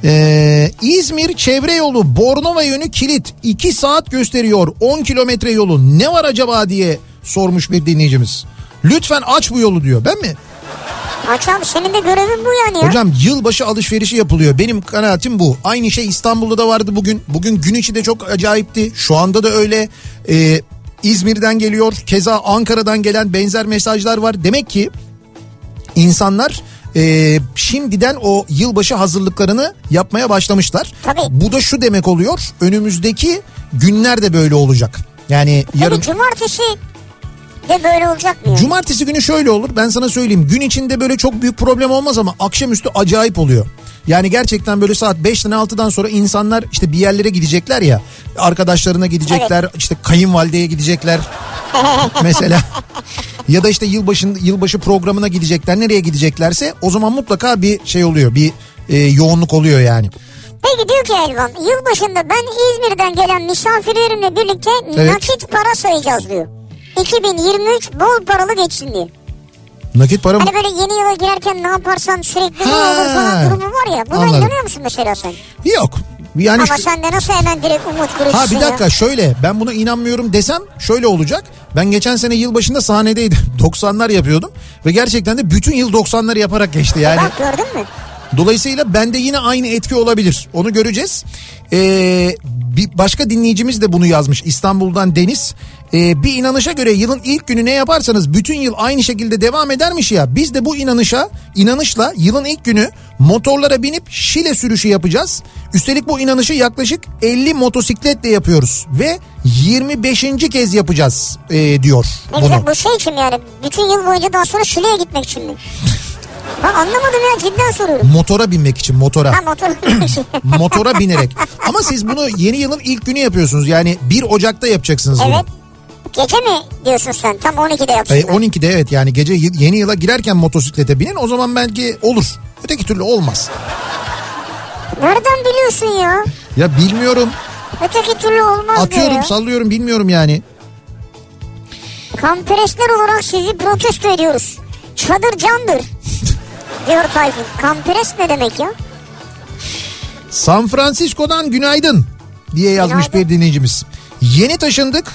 C: Ee, İzmir çevre yolu Bornova yönü kilit 2 saat gösteriyor 10 kilometre yolu ne var acaba diye sormuş bir dinleyicimiz. Lütfen aç bu yolu diyor ben mi?
D: Açam senin de görevin bu yani ya.
C: Hocam yılbaşı alışverişi yapılıyor. Benim kanaatim bu. Aynı şey İstanbul'da da vardı bugün. Bugün gün içi de çok acayipti. Şu anda da öyle. Ee, İzmir'den geliyor. Keza Ankara'dan gelen benzer mesajlar var. Demek ki insanlar e, şimdiden o yılbaşı hazırlıklarını yapmaya başlamışlar.
D: Tabii.
C: Bu da şu demek oluyor. Önümüzdeki günler de böyle olacak. Yani yarın
D: Yarın... cumartesi de böyle olacak mı? ya?
C: Cumartesi günü şöyle olur ben sana söyleyeyim gün içinde böyle çok büyük problem olmaz ama akşamüstü acayip oluyor. Yani gerçekten böyle saat 5'ten 6'dan sonra insanlar işte bir yerlere gidecekler ya arkadaşlarına gidecekler işte kayınvalideye gidecekler mesela ya da işte yılbaşın, yılbaşı programına gidecekler nereye gideceklerse o zaman mutlaka bir şey oluyor bir e, yoğunluk oluyor yani.
D: Peki diyor ki Elvan yılbaşında ben İzmir'den gelen misafirlerimle birlikte
C: Evet.
D: nakit para sayacağız diyor. 2023 bol paralı geçsin diye.
C: Nakit para mı?
D: Hani böyle yeni yıla girerken ne yaparsan sürekli ne
C: Ha.
D: olur falan durumu var ya. Buna
C: Anladım.
D: inanıyor musun mesela sen?
C: Yok. Yani
D: Ama
C: şu-
D: sen de nasıl hemen direkt umut kurucusun
C: Ha bir dakika
D: Ya.
C: şöyle ben buna inanmıyorum desem şöyle olacak. Ben geçen sene yılbaşında sahnedeydim. 90'lar yapıyordum ve gerçekten de bütün yıl 90'lar yaparak geçti yani.
D: Bak gördün mü?
C: Dolayısıyla bende yine aynı etki olabilir. Onu göreceğiz. Ee, bir başka dinleyicimiz de bunu yazmış İstanbul'dan Deniz. Ee, bir inanışa göre yılın ilk günü ne yaparsanız bütün yıl aynı şekilde devam edermiş ya. Biz de bu inanışa inanışla yılın ilk günü motorlara binip Şile sürüşü yapacağız. Üstelik bu inanışı yaklaşık 50 motosikletle yapıyoruz ve 25. kez yapacağız ee, diyor.
D: Ne
C: bunu.
D: güzel bu şey için mi yani? Bütün yıl boyunca daha sonra Şile'ye gitmek için mi? ben anlamadım ya cidden soruyorum.
C: Motora binmek için motora.
D: Ha motor.
C: motora binerek. Ama siz bunu yeni yılın ilk günü yapıyorsunuz. Yani 1 Ocak'ta yapacaksınız bunu.
D: evet. Gece mi diyorsun sen? Tam 12'de yapsın.
C: E, 12'de evet yani gece y- yeni yıla girerken motosiklete binin o zaman belki olur. Öteki türlü olmaz.
D: Nereden biliyorsun ya?
C: Ya bilmiyorum.
D: Öteki türlü olmaz
C: Atıyorum
D: diyor.
C: sallıyorum bilmiyorum yani.
D: Kamperesler olarak sizi protesto ediyoruz. Çadır candır. diyor Tayfun. Kamperes ne demek ya?
C: San Francisco'dan günaydın diye yazmış
D: Günaydın.
C: bir dinleyicimiz. Yeni taşındık.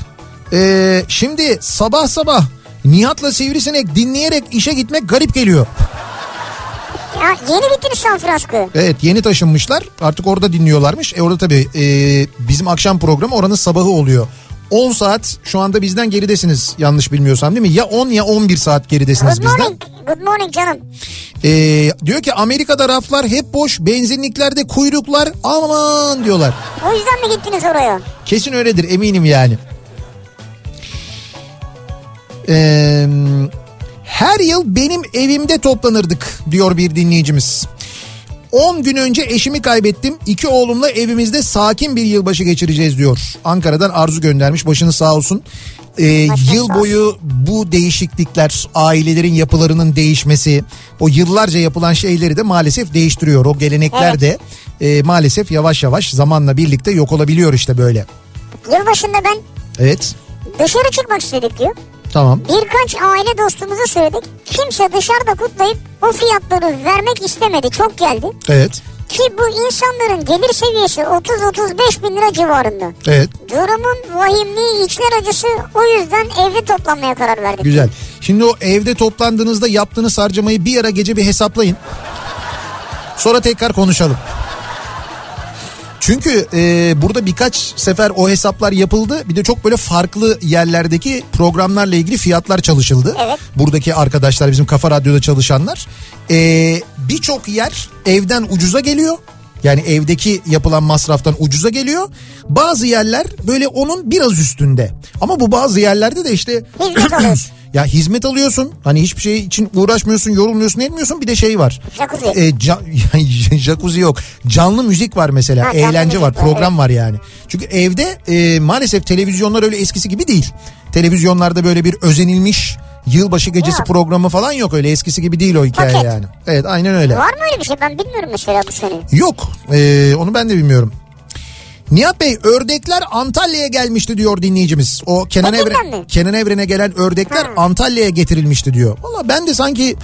C: Ee, şimdi sabah sabah Nihat'la Sivrisinek dinleyerek işe gitmek garip geliyor.
D: ya yeni bittiniz San Francisco.
C: Evet yeni taşınmışlar artık orada dinliyorlarmış. E orada tabii e, bizim akşam programı oranın sabahı oluyor. 10 saat şu anda bizden geridesiniz yanlış bilmiyorsam değil mi? Ya 10 ya 11 saat geridesiniz
D: Good
C: bizden.
D: morning. Good morning canım.
C: E, diyor ki Amerika'da raflar hep boş benzinliklerde kuyruklar aman diyorlar.
D: O yüzden mi gittiniz oraya?
C: Kesin öyledir eminim yani. Ee, her yıl benim evimde toplanırdık diyor bir dinleyicimiz. 10 gün önce eşimi kaybettim. İki oğlumla evimizde sakin bir yılbaşı geçireceğiz diyor. Ankara'dan Arzu göndermiş. Başınız sağ olsun. Ee,
D: Başınız
C: yıl
D: sağ
C: boyu bu değişiklikler, ailelerin yapılarının değişmesi, o yıllarca yapılan şeyleri de maalesef değiştiriyor. O gelenekler
D: Evet.
C: de e, maalesef yavaş yavaş zamanla birlikte yok olabiliyor işte böyle.
D: Yılbaşında ben
C: Evet.
D: dışarı çıkmak istedik diyor.
C: Tamam.
D: Birkaç aile dostumuza söyledik. Kimse dışarıda kutlayıp o fiyatları vermek istemedi. Çok geldi.
C: Evet.
D: Ki bu insanların gelir seviyesi 30-35 bin lira civarında.
C: Evet.
D: Durumun vahimliği içler acısı o yüzden evde toplanmaya karar verdik.
C: Güzel. Şimdi o evde toplandığınızda yaptığınız harcamayı bir ara gece bir hesaplayın. Sonra tekrar konuşalım. Çünkü e, burada birkaç sefer o hesaplar yapıldı. Bir de çok böyle farklı yerlerdeki programlarla ilgili fiyatlar çalışıldı.
D: Evet.
C: Buradaki arkadaşlar bizim Kafa Radyo'da çalışanlar. E, Birçok yer evden ucuza geliyor. Yani evdeki yapılan masraftan ucuza geliyor. Bazı yerler böyle onun biraz üstünde. Ama bu bazı yerlerde de işte
D: Hizmet alıyorsun.
C: ya hizmet alıyorsun. Hani hiçbir şey için uğraşmıyorsun, yorulmuyorsun, etmiyorsun. Bir de şey var.
D: Jacuzzi.
C: E, ca- jacuzzi yok. Canlı müzik var mesela.
D: Ha, canlı
C: Eğlence
D: müzik
C: var,
D: var,
C: program var yani. Çünkü evde e, maalesef televizyonlar öyle eskisi gibi değil. Televizyonlarda böyle bir özenilmiş yılbaşı gecesi
D: Yok.
C: programı falan yok öyle eskisi gibi değil o hikaye
D: Paket.
C: yani. Evet, aynen öyle.
D: Var mı öyle bir şey ben bilmiyorum mesela bu sene.
C: Yok. Ee, onu ben de bilmiyorum. Nihat Bey ördekler Antalya'ya gelmişti diyor dinleyicimiz. O Kenan
D: Bakır'dan
C: Evren
D: mı?
C: Kenan Evren'e gelen ördekler
D: Ha.
C: Antalya'ya getirilmişti diyor. Valla ben de sanki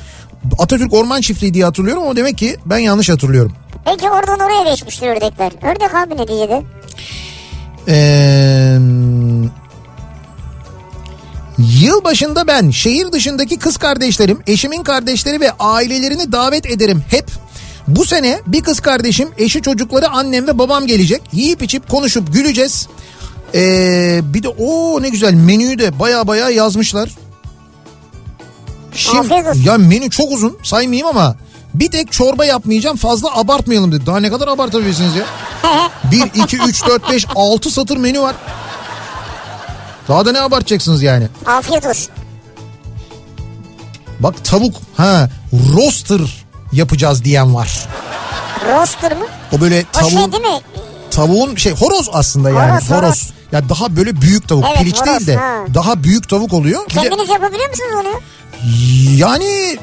C: Atatürk Orman Çiftliği diye hatırlıyorum ama demek ki ben yanlış hatırlıyorum.
D: Belki oradan oraya geçmiştir ördekler. Ördek abi neticede.
C: Ee, yıl başında ben şehir dışındaki kız kardeşlerim, eşimin kardeşleri ve ailelerini davet ederim hep. Bu sene bir kız kardeşim, eşi çocukları annem ve babam gelecek. Yiyip içip konuşup güleceğiz. Ee, bir de o ne güzel menüyü de baya baya yazmışlar. Şimdi,
D: Afiyet olsun.
C: ya menü çok uzun saymayayım ama bir tek çorba yapmayacağım fazla abartmayalım dedi. Daha ne kadar abartabilirsiniz ya? 1, 2, 3, 4, 5, 6 satır menü var. Daha da ne abartacaksınız yani?
D: Afiyet olsun.
C: Bak tavuk ha roaster yapacağız diyen var.
D: Roster mı?
C: O böyle
D: O şey
C: tavuğun,
D: değil mi?
C: tavuğun şey horoz aslında yani horoz.
D: Horoz, horoz.
C: Ya daha böyle büyük tavuk
D: Evet,
C: piliç
D: horoz,
C: değil de
D: ha.
C: daha büyük tavuk oluyor. Bir de-
D: Kendiniz yapabiliyor musunuz onu?
C: yani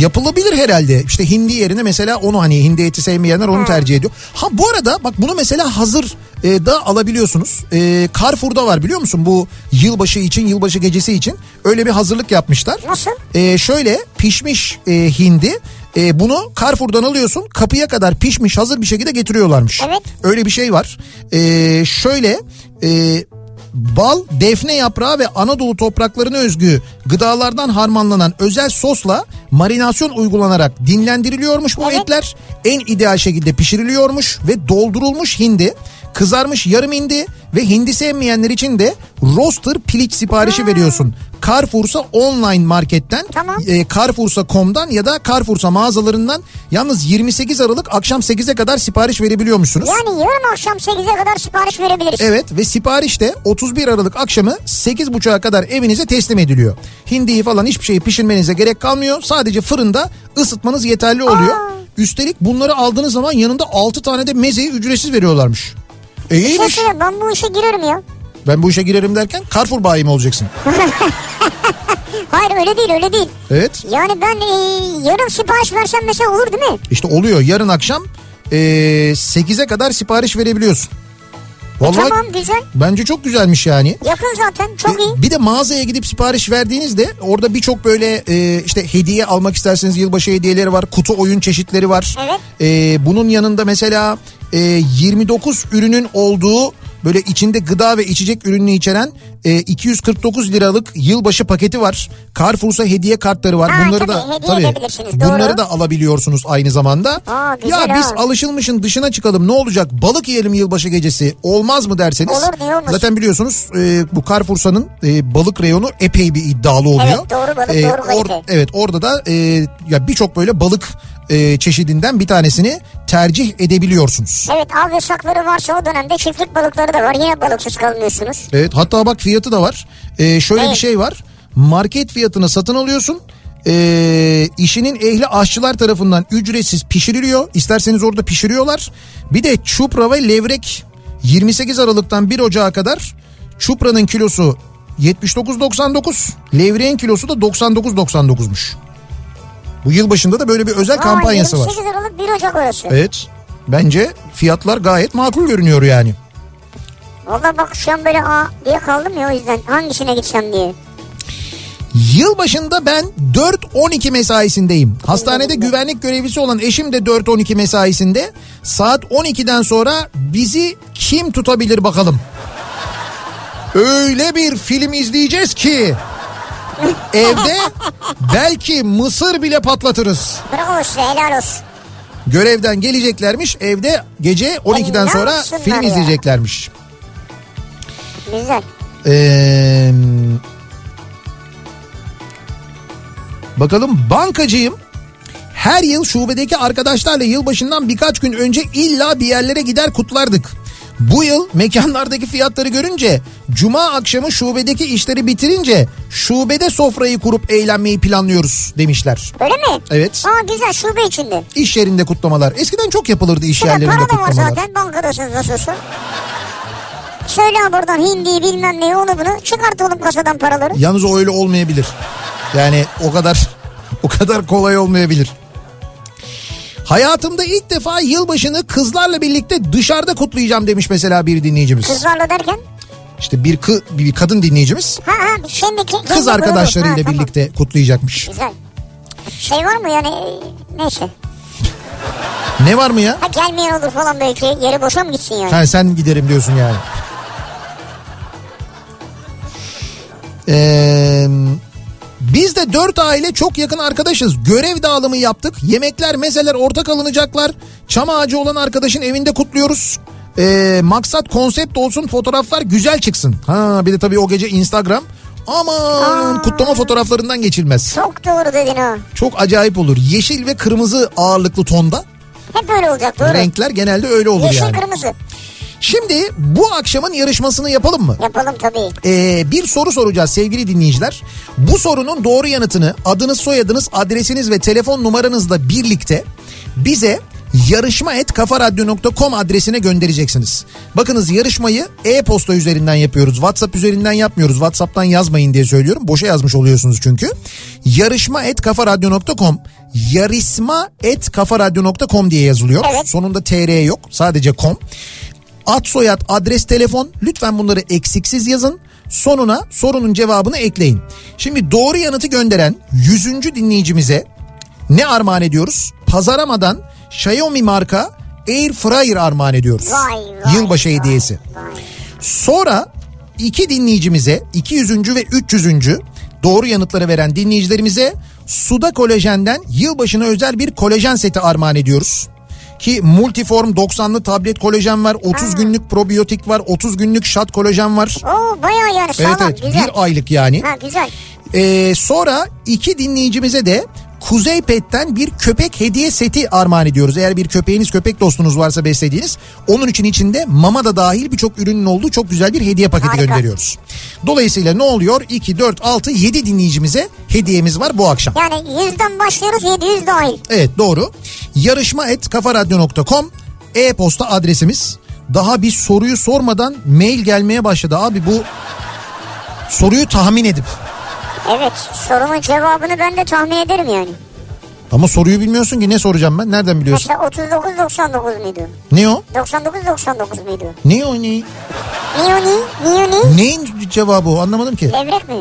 C: yapılabilir herhalde. İşte hindi yerine mesela onu hani hindi eti sevmeyenler onu tercih ediyor. Ha bu arada bak bunu mesela hazır e, da alabiliyorsunuz. E, Carrefour'da var biliyor musun bu yılbaşı için yılbaşı gecesi için öyle bir hazırlık yapmışlar.
D: Nasıl?
C: E, şöyle pişmiş e, hindi e, bunu Carrefour'dan alıyorsun kapıya kadar pişmiş hazır bir şekilde getiriyorlarmış.
D: Evet.
C: Öyle bir şey var. Ee, şöyle e, bal, defne yaprağı ve Anadolu topraklarına özgü gıdalardan harmanlanan özel sosla marinasyon uygulanarak dinlendiriliyormuş bu
D: Evet.
C: etler. En ideal şekilde pişiriliyormuş ve doldurulmuş hindi, kızarmış yarım hindi ve hindi sevmeyenler için de roaster piliç siparişi veriyorsun. Carrefour'sa online marketten
D: Tamam.
C: e, Carrefour'sa.com'dan ya da Carrefour'sa mağazalarından yalnız 28 Aralık akşam 8'e kadar sipariş verebiliyormuşsunuz.
D: Yani yarın akşam 8'e kadar sipariş verebiliriz.
C: Evet ve sipariş de 31 Aralık akşamı 8.30'a kadar evinize teslim ediliyor. Hindiyi falan hiçbir şeyi pişirmenize gerek kalmıyor. Sadece fırında ısıtmanız yeterli oluyor. Üstelik bunları aldığınız zaman yanında 6 tane de mezeyi ücretsiz veriyorlarmış. E
D: Şey
C: iyiymiş.
D: söyle, ben bu işe girerim ya.
C: Ben bu işe girerim derken Carrefour bayi mi olacaksın?
D: Hayır öyle değil öyle değil.
C: Evet.
D: Yani ben e, yarın sipariş versem mesela olur değil mi?
C: İşte oluyor yarın akşam e, 8'e kadar sipariş verebiliyorsun. Vallahi
D: Tamam güzel.
C: bence çok güzelmiş yani.
D: Yakın zaten çok iyi.
C: Bir de mağazaya gidip sipariş verdiğinizde orada birçok böyle e, işte hediye almak isterseniz yılbaşı hediyeleri var, kutu oyun çeşitleri var.
D: Evet.
C: E, bunun yanında mesela e, 29 ürünün olduğu böyle içinde gıda ve içecek ürünü içeren e, 249 liralık yılbaşı paketi var. Carrefour'sa hediye kartları var.
D: Ha,
C: bunları da
D: tabii, hediye edebilirsiniz, doğru.
C: bunları da alabiliyorsunuz aynı zamanda.
D: Aa, güzel
C: ya biz
D: ha.
C: alışılmışın dışına çıkalım ne olacak? Balık yiyelim yılbaşı gecesi olmaz mı derseniz.
D: Olur, niye olmasın?
C: Zaten biliyorsunuz e, bu Carrefour'sanın e, balık reyonu epey bir iddialı oluyor. E,
D: Evet, doğru balık, doğru kalite.
C: Evet orada da e, ya birçok böyle balık e, çeşidinden bir tanesini tercih edebiliyorsunuz.
D: Evet av yasakları varsa o dönemde çiftlik balıkları da var. Yine balıksız kalmıyorsunuz.
C: Evet hatta bak fiyatı da var. E, şöyle
D: Evet.
C: bir şey var. Market fiyatına satın alıyorsun. E, işinin ehli aşçılar tarafından ücretsiz pişiriliyor. İsterseniz orada pişiriyorlar. Bir de çupra ve levrek 28 Aralık'tan 1 Ocağı kadar çupranın kilosu 79.99, levreğin kilosu da 99.99'muş. Bu yıl başında da böyle bir özel
D: Aa,
C: kampanyası var.
D: 28 Aralık 1 Ocak orası.
C: Evet. Bence fiyatlar gayet makul görünüyor yani.
D: Valla bak şu an böyle a diye kaldım ya o yüzden hangisine gitsem diye.
C: Yılbaşında ben 4-12 mesaisindeyim. Hastanede güvenlik görevlisi olan eşim de 4-12 mesaisinde. Saat 12'den sonra bizi kim tutabilir bakalım. Öyle bir film izleyeceğiz ki evde belki mısır bile patlatırız.
D: Bravo size helal olsun.
C: Görevden geleceklermiş evde gece 12'den sonra
D: Helal olsun
C: film
D: var ya.
C: izleyeceklermiş.
D: Güzel.
C: Ee, bakalım bankacıyım. Her yıl şubedeki arkadaşlarla yılbaşından birkaç gün önce illa bir yerlere gider kutlardık. Bu yıl mekanlardaki fiyatları görünce cuma akşamı şubedeki işleri bitirince şubede sofrayı kurup eğlenmeyi planlıyoruz demişler.
D: Öyle mi?
C: Evet.
D: Aa güzel şube içinde.
C: İş yerinde kutlamalar. Eskiden çok yapılırdı iş
D: Şurada
C: yerlerinde
D: para da var
C: kutlamalar.
D: zaten bankadasınız nasılsın? Söyle ha buradan hindiyi bilmem neyi onu bunu çıkart oğlum kasadan paraları.
C: Yalnız o öyle olmayabilir. Yani o kadar o kadar kolay olmayabilir. Hayatımda ilk defa yılbaşını kızlarla birlikte dışarıda kutlayacağım demiş mesela bir dinleyicimiz.
D: Kızlarla derken.
C: İşte bir kı, bir kadın dinleyicimiz
D: Ha ha şimdi ke- kendi
C: kız
D: grubu. Ha,
C: arkadaşlarıyla
D: tamam.
C: birlikte kutlayacakmış.
D: Güzel. Şey var mı yani e, neyse.
C: Ne var mı ya?
D: Ha gelmeyen olur falan belki yeri boşa mı gitsin yani?
C: Ha, sen giderim diyorsun yani. Ee, biz de dört aile çok yakın arkadaşız. Görev dağılımı yaptık. Yemekler, mezeler ortak alınacaklar. Çam ağacı olan arkadaşın evinde kutluyoruz. Ee, maksat konsept olsun fotoğraflar güzel çıksın. Ha bir de tabii o gece Instagram. Aman kutlama fotoğraflarından geçilmez.
D: Çok doğru dedin ha.
C: Çok acayip olur. Yeşil ve kırmızı ağırlıklı tonda.
D: Hep öyle olacak doğru.
C: Renkler genelde öyle olur
D: Yeşil
C: yani.
D: kırmızı.
C: Şimdi bu akşamın yarışmasını yapalım mı?
D: Yapalım tabii.
C: Ee, bir soru soracağız sevgili dinleyiciler. Bu sorunun doğru yanıtını adınız, soyadınız, adresiniz ve telefon numaranızla birlikte bize yarışma et kafaradyo.com adresine göndereceksiniz. Bakınız yarışmayı e-posta üzerinden yapıyoruz. WhatsApp üzerinden yapmıyoruz. WhatsApp'tan yazmayın diye söylüyorum. Boşa yazmış oluyorsunuz çünkü. Yarışma et kafaradyo.com yarışma et kafaradyo.com diye yazılıyor.
D: Evet.
C: Sonunda tr yok. Sadece com. Ad soyad adres telefon lütfen bunları eksiksiz yazın. Sonuna sorunun cevabını ekleyin. Şimdi doğru yanıtı gönderen 100. dinleyicimize ne armağan ediyoruz? Pazaramadan Xiaomi marka Air Fryer armağan ediyoruz.
D: Vay vay.
C: Yılbaşı
D: vay,
C: hediyesi.
D: vay.
C: Sonra iki dinleyicimize 200. ve 300. doğru yanıtları veren dinleyicilerimize Suda Kolajen'den yılbaşına özel bir kolajen seti armağan ediyoruz. Ki multiform 90'lı tablet kolajen var, 30 günlük probiyotik var, 30 günlük şat kolajen var.
D: Oo bayağı yani sağlam
C: Evet evet
D: güzel.
C: bir aylık yani.
D: Ha güzel.
C: Ee, sonra iki dinleyicimize de Kuzey Pet'ten bir köpek hediye seti armağan ediyoruz. Eğer bir köpeğiniz köpek dostunuz varsa beslediğiniz onun için içinde mama da dahil birçok ürünün olduğu çok güzel bir hediye paketi
D: Harika.
C: gönderiyoruz. Dolayısıyla ne oluyor? 2, 4, 6, 7 dinleyicimize hediyemiz var bu akşam.
D: Yani yüzden başlıyoruz 700 dahil.
C: Evet doğru. Yarışma et kafaradyo.com e-posta adresimiz. Daha bir soruyu sormadan mail gelmeye başladı abi bu soruyu tahmin edip.
D: Evet sorunun cevabını ben de tahmin ederim yani.
C: Ama soruyu bilmiyorsun ki ne soracağım ben? Nereden biliyorsun?
D: Mesela 39.99 muydu?
C: Ne o?
D: 99.99 muydu?
C: Ne o ne?
D: Niyoni? Niyoni?
C: Neyin cevabı o? Anlamadım ki.
D: Levrek mi?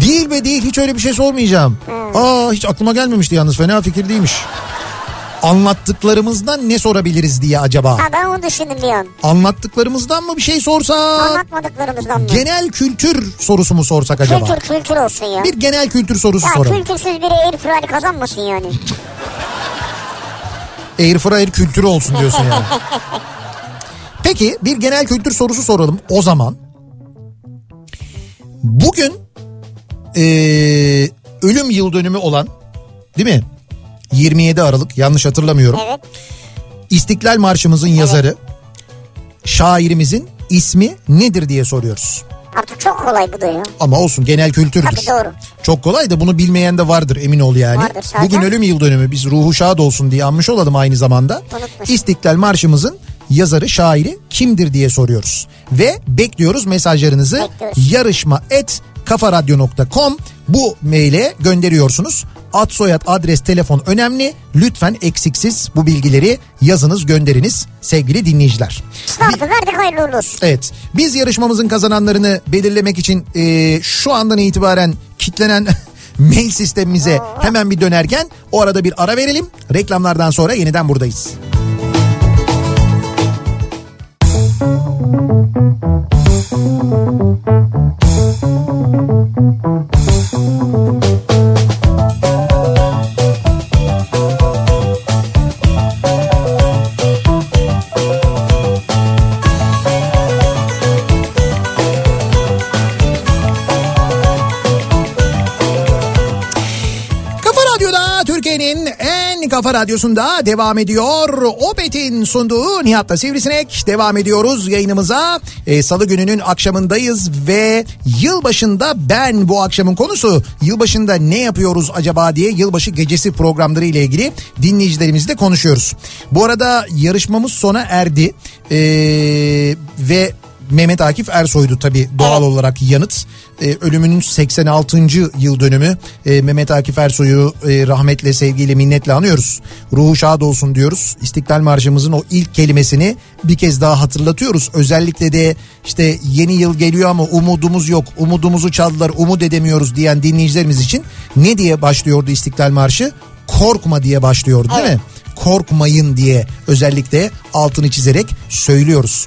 C: değil be değil. Hiç öyle bir şey sormayacağım.
D: Hmm.
C: Aa hiç aklıma gelmemişti yalnız. Fena fikir değilmiş. Anlattıklarımızdan ne sorabiliriz diye acaba?
D: Ha ben onu düşündüm bir an.
C: Anlattıklarımızdan mı bir şey sorsak?
D: Anlatmadıklarımızdan mı?
C: Genel kültür sorusu mu sorsak acaba?
D: Kültür kültür olsun ya.
C: Bir genel kültür sorusu
D: ya
C: soralım.
D: kültürsüz biri air fryer kazanmasın yani.
C: Air fryer kültürü olsun diyorsun yani. Peki bir genel kültür sorusu soralım o zaman. Bugün eee, ölüm yıl dönümü olan değil mi? 27 Aralık yanlış hatırlamıyorum.
D: Evet.
C: İstiklal Marşımızın yazarı şairimizin ismi nedir diye soruyoruz.
D: Artık Çok kolay bu da ya.
C: Ama olsun genel kültürdür.
D: Tabii doğru.
C: Çok kolay da bunu bilmeyen de vardır emin ol yani.
D: Vardır zaten.
C: Bugün ölüm yıl dönümü biz ruhu şad olsun diye anmış olalım aynı zamanda.
D: Unutmuşum.
C: İstiklal Marşımızın yazarı şairi kimdir diye soruyoruz. Ve bekliyoruz mesajlarınızı
D: Bekliyoruz.
C: yarışma et kafaradyo.com bu maile gönderiyorsunuz. Ad soyad adres telefon önemli. Lütfen eksiksiz bu bilgileri yazınız gönderiniz sevgili dinleyiciler.
D: Sınavda verdik hayırlı uğurlu olsun.
C: Evet. Biz yarışmamızın kazananlarını belirlemek için e, şu andan itibaren kitlenen mail sistemimize hemen bir dönerken o arada bir ara verelim. Reklamlardan sonra yeniden buradayız. Kafa Radyo'da Türkiye'nin en kafa radyosunda devam ediyor. Opet'in sunduğu Nihat'la Sivrisinek devam ediyoruz yayınımıza. Ee, Salı gününün akşamındayız ve yılbaşında ben bu akşamın konusu yılbaşında ne yapıyoruz acaba diye yılbaşı gecesi programları ile ilgili dinleyicilerimizle konuşuyoruz. Bu arada yarışmamız sona erdi Ee, ve Mehmet Akif Ersoy'du tabii doğal olarak yanıt. Ee, ölümünün 86. yıl dönümü. Ee, Mehmet Akif Ersoy'u e, rahmetle, sevgiyle, minnetle anıyoruz. Ruhu şad olsun diyoruz. İstiklal Marşımızın o ilk kelimesini bir kez daha hatırlatıyoruz. Özellikle de işte yeni yıl geliyor ama umudumuz yok. Umudumuzu çaldılar, umut edemiyoruz diyen dinleyicilerimiz için ne diye başlıyordu İstiklal Marşı? Korkma diye başlıyordu değil mi? korkmayın diye özellikle altını çizerek söylüyoruz.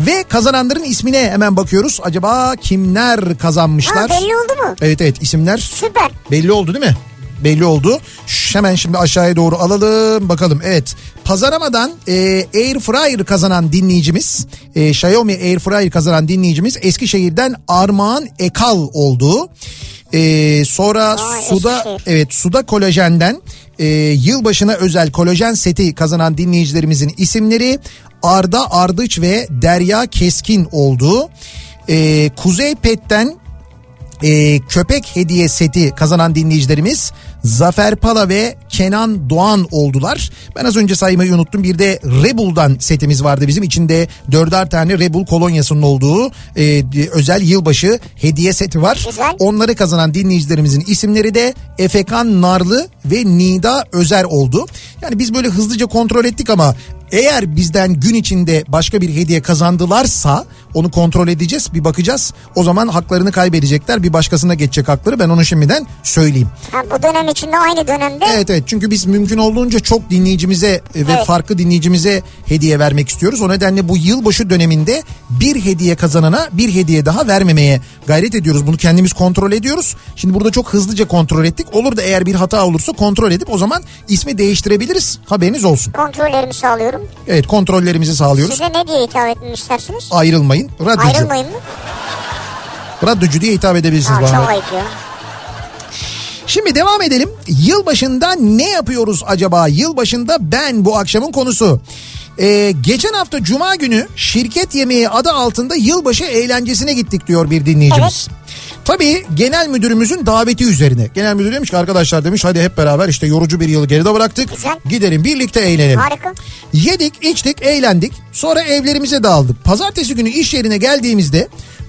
C: Ve kazananların ismine hemen bakıyoruz. Acaba kimler
D: Ha
C: kazanmışlar?
D: belli oldu mu?
C: Evet evet isimler
D: Süper.
C: belli oldu değil mi? Belli oldu. Ş- Hemen şimdi aşağıya doğru alalım bakalım. Evet pazaramadan e, Air Fryer kazanan dinleyicimiz e, Xiaomi Air Fryer kazanan dinleyicimiz Eskişehir'den Armağan Ekal oldu. E, sonra suda
D: Eskişehir.
C: evet suda kolajenden e, yılbaşına özel kolajen seti kazanan dinleyicilerimizin isimleri Arda Ardıç ve Derya Keskin oldu. E, Kuzey Pet'ten e, köpek hediye seti kazanan dinleyicilerimiz Zafer Pala ve Kenan Doğan oldular. Ben az önce saymayı unuttum. Bir de Rebel'dan setimiz vardı bizim. içinde dörder tane Rebel kolonyasının olduğu e, özel yılbaşı hediye seti var.
D: Güzel.
C: Onları kazanan dinleyicilerimizin isimleri de Efekan Narlı ve Nida Özer oldu. Yani biz böyle hızlıca kontrol ettik ama eğer bizden gün içinde başka bir hediye kazandılarsa onu kontrol edeceğiz bir bakacağız. O zaman haklarını kaybedecekler bir başkasına geçecek hakları ben onu şimdiden söyleyeyim.
D: Ha, bu dönem içinde aynı dönemde
C: Evet evet çünkü biz mümkün olduğunca çok dinleyicimize e, ve
D: Evet.
C: farklı dinleyicimize hediye vermek istiyoruz. O nedenle bu yılbaşı döneminde bir hediye kazanana bir hediye daha vermemeye gayret ediyoruz. Bunu kendimiz kontrol ediyoruz. Şimdi burada çok hızlıca kontrol ettik. Olur da eğer bir hata olursa kontrol edip o zaman ismi değiştirebiliriz. Haberiniz olsun.
D: kontrollerimi sağlıyorum.
C: Evet kontrollerimizi sağlıyoruz.
D: Size ne diye hitap etmemi istersiniz?
C: Ayrılmayın. Radyocu.
D: Ayrılmayın mı?
C: Radyocu diye hitap edebilirsiniz
D: Aa,
C: bana.
D: çok ayıp ya.
C: Şimdi devam edelim. Yılbaşında ne yapıyoruz acaba? Yılbaşında ben bu akşamın konusu. Ee, geçen hafta cuma günü şirket yemeği adı altında yılbaşı eğlencesine gittik diyor bir dinleyicimiz. Tabii genel müdürümüzün daveti üzerine. Genel müdür demiş ki arkadaşlar demiş hadi hep beraber işte yorucu bir yılı geride bıraktık.
D: Güzel.
C: Gidelim birlikte eğlenelim.
D: Harika.
C: Yedik, içtik, eğlendik. Sonra evlerimize dağıldık. Pazartesi günü iş yerine geldiğimizde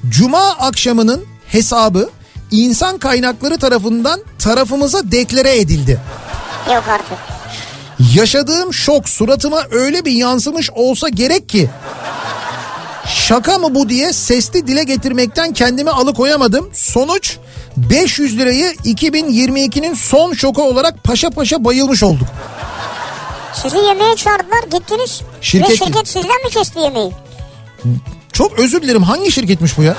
C: cuma akşamının hesabı insan kaynakları tarafından tarafımıza deklare edildi.
D: Yok artık.
C: Yaşadığım şok suratıma öyle bir yansımış olsa gerek ki şaka mı bu diye sesli dile getirmekten kendimi alıkoyamadım. Sonuç 500 lirayı 2022'nin son şoku olarak paşa paşa bayılmış olduk.
D: Sizi yemeğe çağırdılar gittiniz.
C: Şirket
D: Ve
C: değil.
D: şirket sizden mi kesti yemeği?
C: Çok özür dilerim hangi şirketmiş bu ya?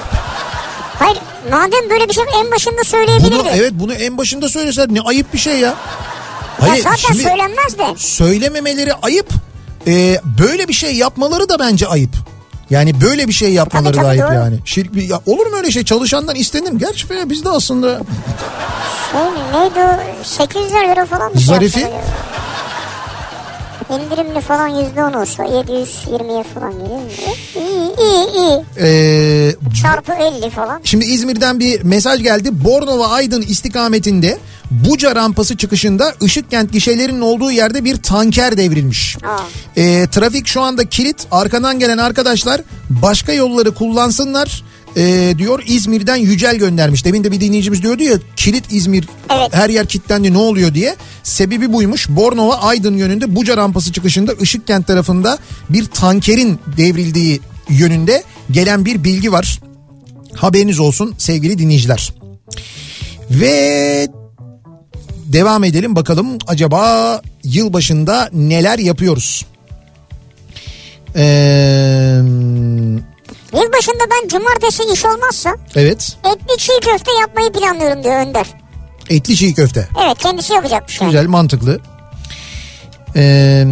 D: Hayır madem böyle bir şey en başında söyleyebilirdi.
C: Bunu, evet bunu en başında söylesen ne ayıp bir şey ya.
D: Ya
C: Hayır,
D: zaten
C: şimdi
D: söylenmez de.
C: söylememeleri ayıp. Ee, böyle bir şey yapmaları da bence ayıp. Yani böyle bir şey yapmaları
D: E Tabii, tabii,
C: da ayıp
D: doğru.
C: yani. Şirk, ya olur mu öyle şey çalışandan istenim. Gerçi be, biz de aslında
D: Şey, neydi o 800 lira falan mı şey
C: Zarifi.
D: yaptılar ya? İndirimli falan %10 olsa 720'ye falan gelir mi? İyi iyi iyi.
C: Ee,
D: Çarpı 50 falan.
C: Şimdi İzmir'den bir mesaj geldi. Bornova Aydın istikametinde Buca rampası çıkışında Işıkkent gişelerinin olduğu yerde bir tanker devrilmiş.
D: Aa.
C: Ee, trafik şu anda kilit. Arkadan gelen arkadaşlar başka yolları kullansınlar. ee, diyor İzmir'den Yücel göndermiş. Demin de bir dinleyicimiz diyordu ya kilit İzmir
D: Evet.
C: her yer kilitlendi ne oluyor diye. Sebebi buymuş. Bornova Aydın yönünde Buca rampası çıkışında Işıkkent tarafında bir tankerin devrildiği yönünde gelen bir bilgi var. Haberiniz olsun sevgili dinleyiciler. Ve devam edelim bakalım acaba yılbaşında neler yapıyoruz? Ee,
D: Yılbaşında ben cumartesi iş olmazsa
C: evet
D: etli çiğ köfte yapmayı planlıyorum diyor Önder.
C: etli çiğ köfte
D: Evet kendisi şey. yapacakmış yani.
C: güzel mantıklı. Ee,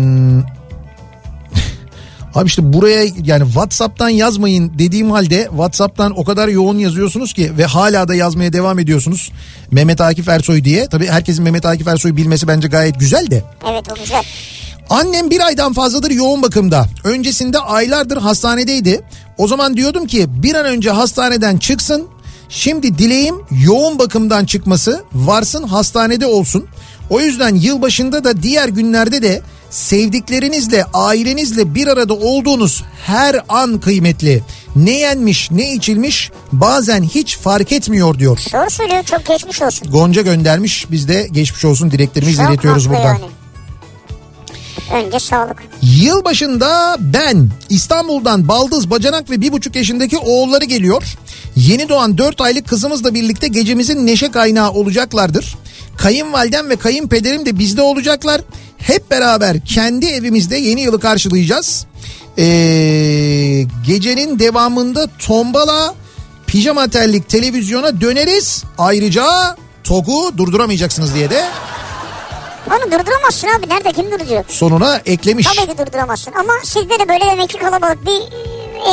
C: abi işte buraya yani Whatsapp'tan yazmayın dediğim halde Whatsapp'tan o kadar yoğun yazıyorsunuz ki ve hala da yazmaya devam ediyorsunuz. Mehmet Akif Ersoy diye tabii herkesin Mehmet Akif Ersoy'u bilmesi bence gayet güzel de.
D: Evet o güzel.
C: Annem bir aydan fazladır yoğun bakımda. Öncesinde aylardır hastanedeydi. O zaman diyordum ki bir an önce hastaneden çıksın. Şimdi dileğim yoğun bakımdan çıkması varsın hastanede olsun. O yüzden yılbaşında da diğer günlerde de sevdiklerinizle ailenizle bir arada olduğunuz her an kıymetli. Ne yenmiş ne içilmiş bazen hiç fark etmiyor diyor.
D: Doğru söylüyor çok geçmiş olsun.
C: Gonca göndermiş biz de geçmiş olsun dileklerimizi
D: Çok
C: iletiyoruz
D: haklı
C: buradan.
D: yani. Önce sağlık.
C: Yılbaşında ben İstanbul'dan Baldız Bacanak ve bir buçuk yaşındaki oğulları geliyor. Yeni doğan 4 aylık kızımızla birlikte gecemizin neşe kaynağı olacaklardır. Kayınvalidem ve kayınpederim de bizde olacaklar. Hep beraber kendi evimizde yeni yılı karşılayacağız. Ee, gecenin devamında tombala, pijama terlik televizyona döneriz. Ayrıca TOG'u durduramayacaksınız diye de
D: Onu durduramazsın abi nerede kim durduruyor?
C: sonuna eklemiş.
D: Tabii ki durduramazsın ama sizde de böyle demek ki kalabalık bir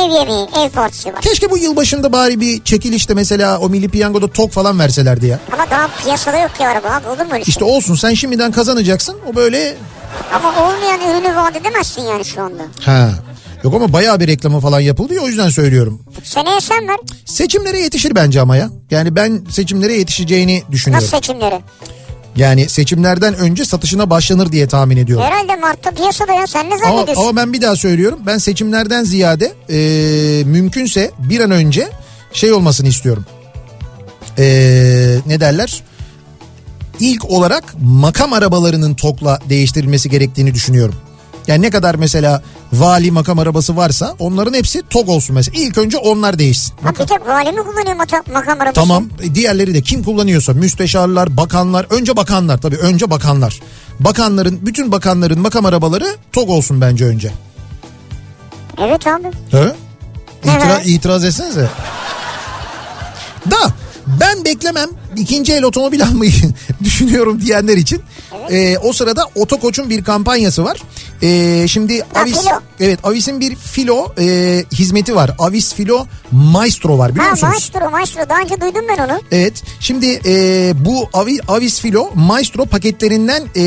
D: ev yemeği, ev partisi var.
C: Keşke bu yılbaşında bari bir çekilişte mesela o milli piyangoda tok falan verselerdi ya.
D: Ama daha piyasada yok ki araba abi olur mu öyle şey?
C: İşte olsun sen şimdiden kazanacaksın o böyle...
D: Ama olmayan ürünü vaat edemezsin yani şu anda.
C: Ha. Yok ama bayağı bir reklamı falan yapıldı ya o yüzden söylüyorum.
D: Seneye sen ver.
C: Seçimlere yetişir bence ama ya. Yani ben seçimlere yetişeceğini
D: Nasıl
C: düşünüyorum.
D: seçimleri?
C: Yani seçimlerden önce satışına başlanır diye tahmin ediyorum.
D: Herhalde Mart'ta piyasada ya sen ne
C: Ama,
D: zannediyorsun?
C: ama ben bir daha söylüyorum. Ben seçimlerden ziyade e, mümkünse bir an önce şey olmasını istiyorum. E, ne derler? İlk olarak makam arabalarının tokla değiştirilmesi gerektiğini düşünüyorum. Yani ne kadar mesela vali makam arabası varsa onların hepsi tok olsun mesela. İlk önce onlar değişsin.
D: Ha, bir tek vali mi kullanıyor mata- makam arabası?
C: Tamam e, diğerleri de kim kullanıyorsa müsteşarlar, bakanlar, önce bakanlar tabii önce bakanlar. Bakanların, bütün bakanların makam arabaları tok olsun bence önce.
D: Evet abi.
C: He? İtira-
D: Evet.
C: itiraz etsenize. Da ben beklemem ikinci el otomobil almayı düşünüyorum diyenler için. Ee, o sırada Otokoç'un bir kampanyası var. Ee, şimdi
D: Ha,
C: Avis
D: filo.
C: evet Avis'in bir filo e, hizmeti var. Avis Filo Maestro var biliyor
D: Ha
C: musunuz?
D: maestro maestro daha önce duydum ben onu.
C: Evet. Şimdi e, bu Avi, Avis Filo Maestro paketlerinden e,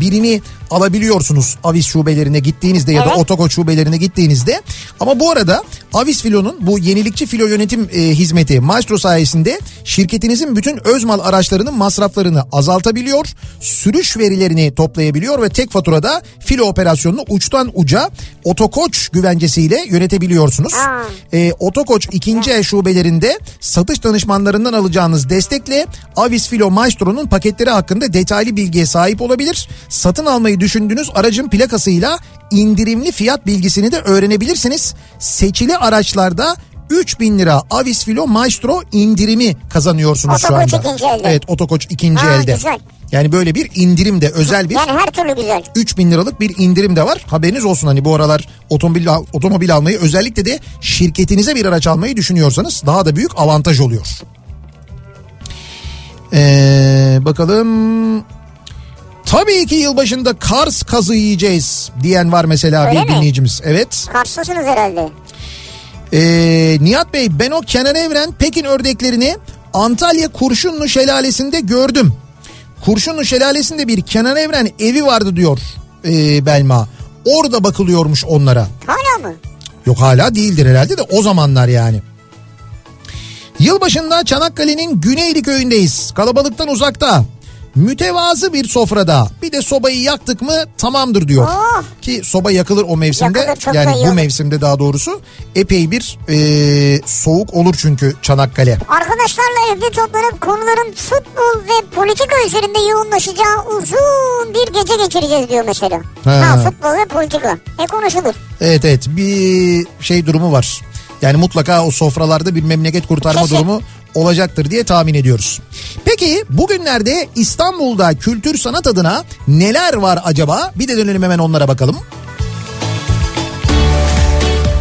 C: birini alabiliyorsunuz Avis şubelerine gittiğinizde ya da
D: Evet.
C: Otokoç şubelerine gittiğinizde. Ama bu arada Avis Filo'nun bu yenilikçi filo yönetim e, hizmeti Maestro sayesinde şirketinizin bütün öz mal araçlarının masraflarını azaltabiliyor, sürüş verilerini toplayabiliyor ve tek faturada filo operasyonunu uçtan uca Otokoç güvencesiyle yönetebiliyorsunuz.
D: Aa.
C: E, Otokoç ikinci el şubelerinde satış danışmanlarından alacağınız destekle Avis Filo Maestro'nun paketleri hakkında detaylı bilgiye sahip olabilir. Satın almayı düşündüğünüz aracın plakasıyla indirimli fiyat bilgisini de öğrenebilirsiniz. Seçili araçlarda 3000 lira Avis Filo Maestro indirimi kazanıyorsunuz şu
D: Otokoç
C: anda.
D: ikinci elde.
C: Evet Otokoç ikinci
D: Ha,
C: elde.
D: güzel.
C: Yani böyle bir indirim de özel bir
D: Yani her türlü güzel.
C: 3000 liralık bir indirim de var. Haberiniz olsun hani bu aralar otomobil al- otomobil almayı özellikle de şirketinize bir araç almayı düşünüyorsanız daha da büyük avantaj oluyor. Ee, bakalım. Tabii ki yılbaşında Kars kazı yiyeceğiz diyen var mesela
D: Öyle
C: bir
D: mi?
C: dinleyicimiz. Evet.
D: Karşısınız herhalde.
C: Ee, Nihat Bey ben o Kenan Evren Pekin ördeklerini Antalya Kurşunlu Şelalesi'nde gördüm. Kurşunlu Şelalesi'nde bir Kenan Evren evi vardı diyor ee, Belma. Orada bakılıyormuş onlara.
D: Hala mı?
C: Yok hala değildir herhalde de o zamanlar yani. Yılbaşında Çanakkale'nin Güneyli köyündeyiz. Kalabalıktan uzakta. Mütevazı bir sofrada. Bir de sobayı yaktık mı tamamdır diyor.
D: Aa.
C: Ki soba yakılır o mevsimde.
D: Ah! Yakılır, çok da
C: yani
D: iyi
C: bu
D: olur.
C: mevsimde daha doğrusu epey bir eee, soğuk olur çünkü Çanakkale.
D: Arkadaşlarla evde toplanıp konuların futbol ve politika üzerinde yoğunlaşacağı uzun bir gece geçireceğiz diyor mesela.
C: He.
D: Ha, futbol ve politika. E konuşulur.
C: Evet evet bir şey durumu var. Yani mutlaka o sofralarda bir memleket kurtarma
D: Kesin.
C: durumu olacaktır diye tahmin ediyoruz. Peki bugünlerde İstanbul'da kültür sanat adına neler var acaba? Bir de dönelim hemen onlara bakalım.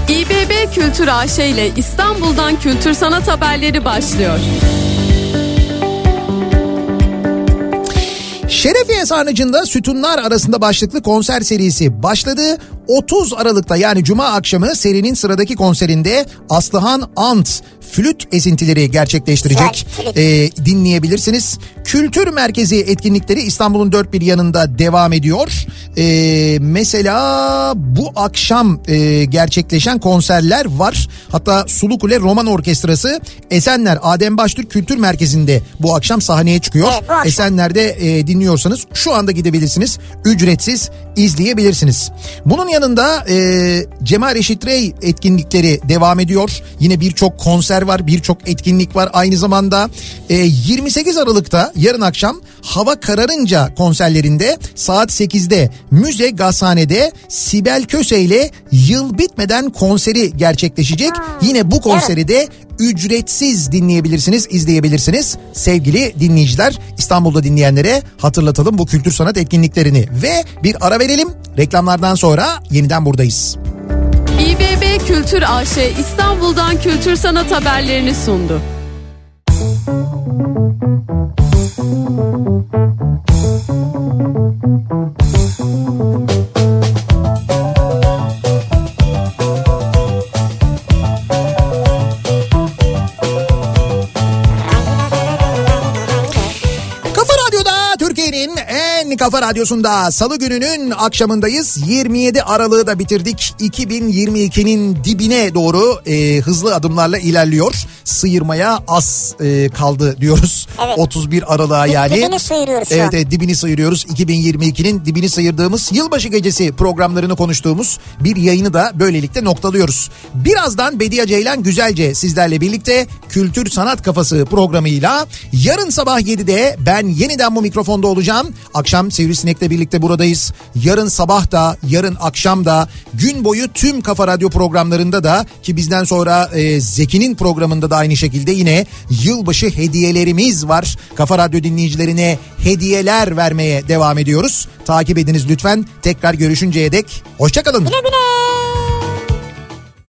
E: İBB Kültür AŞ ile İstanbul'dan kültür sanat haberleri başlıyor.
C: Şerefiye Sarnıcı'nda Sütunlar Arasında başlıklı konser serisi başladı. 30 Aralık'ta yani Cuma akşamı serinin sıradaki konserinde Aslıhan Ant flüt esintileri gerçekleştirecek.
D: Güzel, flüt.
C: Ee, dinleyebilirsiniz. Kültür merkezi etkinlikleri İstanbul'un dört bir yanında devam ediyor. Ee, mesela bu akşam e, gerçekleşen konserler var. Hatta Sulukule Roman Orkestrası Esenler Adem Baştürk Kültür Merkezi'nde bu akşam sahneye çıkıyor.
D: Evet, bu akşam.
C: Esenler'de e, dinliyorsanız şu anda gidebilirsiniz. Ücretsiz izleyebilirsiniz. Bunun yanında e, Cemal Reşit Rey etkinlikleri devam ediyor. Yine birçok konser var, birçok etkinlik var. Aynı zamanda e, 28 Aralık'ta yarın akşam hava kararınca konserlerinde saat 8'de Müze Gazhane'de Sibel Köse ile yıl bitmeden konseri gerçekleşecek. Yine bu konseri de ücretsiz dinleyebilirsiniz, izleyebilirsiniz. Sevgili dinleyiciler, İstanbul'da dinleyenlere hatırlatalım bu kültür sanat etkinliklerini ve bir ara verelim. Reklamlardan sonra yeniden buradayız.
E: İBB Kültür AŞ İstanbul'dan kültür sanat haberlerini sundu.
C: Kafa Radyo'da Türkiye'nin en kafa radyosunda salı gününün akşamındayız. 27 Aralık'ı da bitirdik. 2022'nin dibine doğru e, hızlı adımlarla ilerliyor. Sıyırmaya az e, kaldı diyoruz.
D: Evet.
C: 31 Aralık'a yani.
D: dibini sıyırıyoruz şu
C: Evet
D: an.
C: evet dibini sıyırıyoruz. 2022'nin dibini sıyırdığımız yılbaşı gecesi programlarını konuştuğumuz bir yayını da böylelikle noktalıyoruz. Birazdan Bediye Ceylan Güzelce sizlerle birlikte Kültür Sanat Kafası programıyla yarın sabah 7'de ben yeniden bu mikrofonda olacağım. Akşam Sivrisinek'le birlikte buradayız. Yarın sabah da yarın akşam da gün boyu tüm Kafa Radyo programlarında da ki bizden sonra e, Zeki'nin programında da aynı şekilde yine yılbaşı hediyelerimiz var. Kafa Radyo dinleyicilerine hediyeler vermeye devam ediyoruz. Takip ediniz lütfen. Tekrar görüşünceye dek hoşçakalın.
D: Güle güle.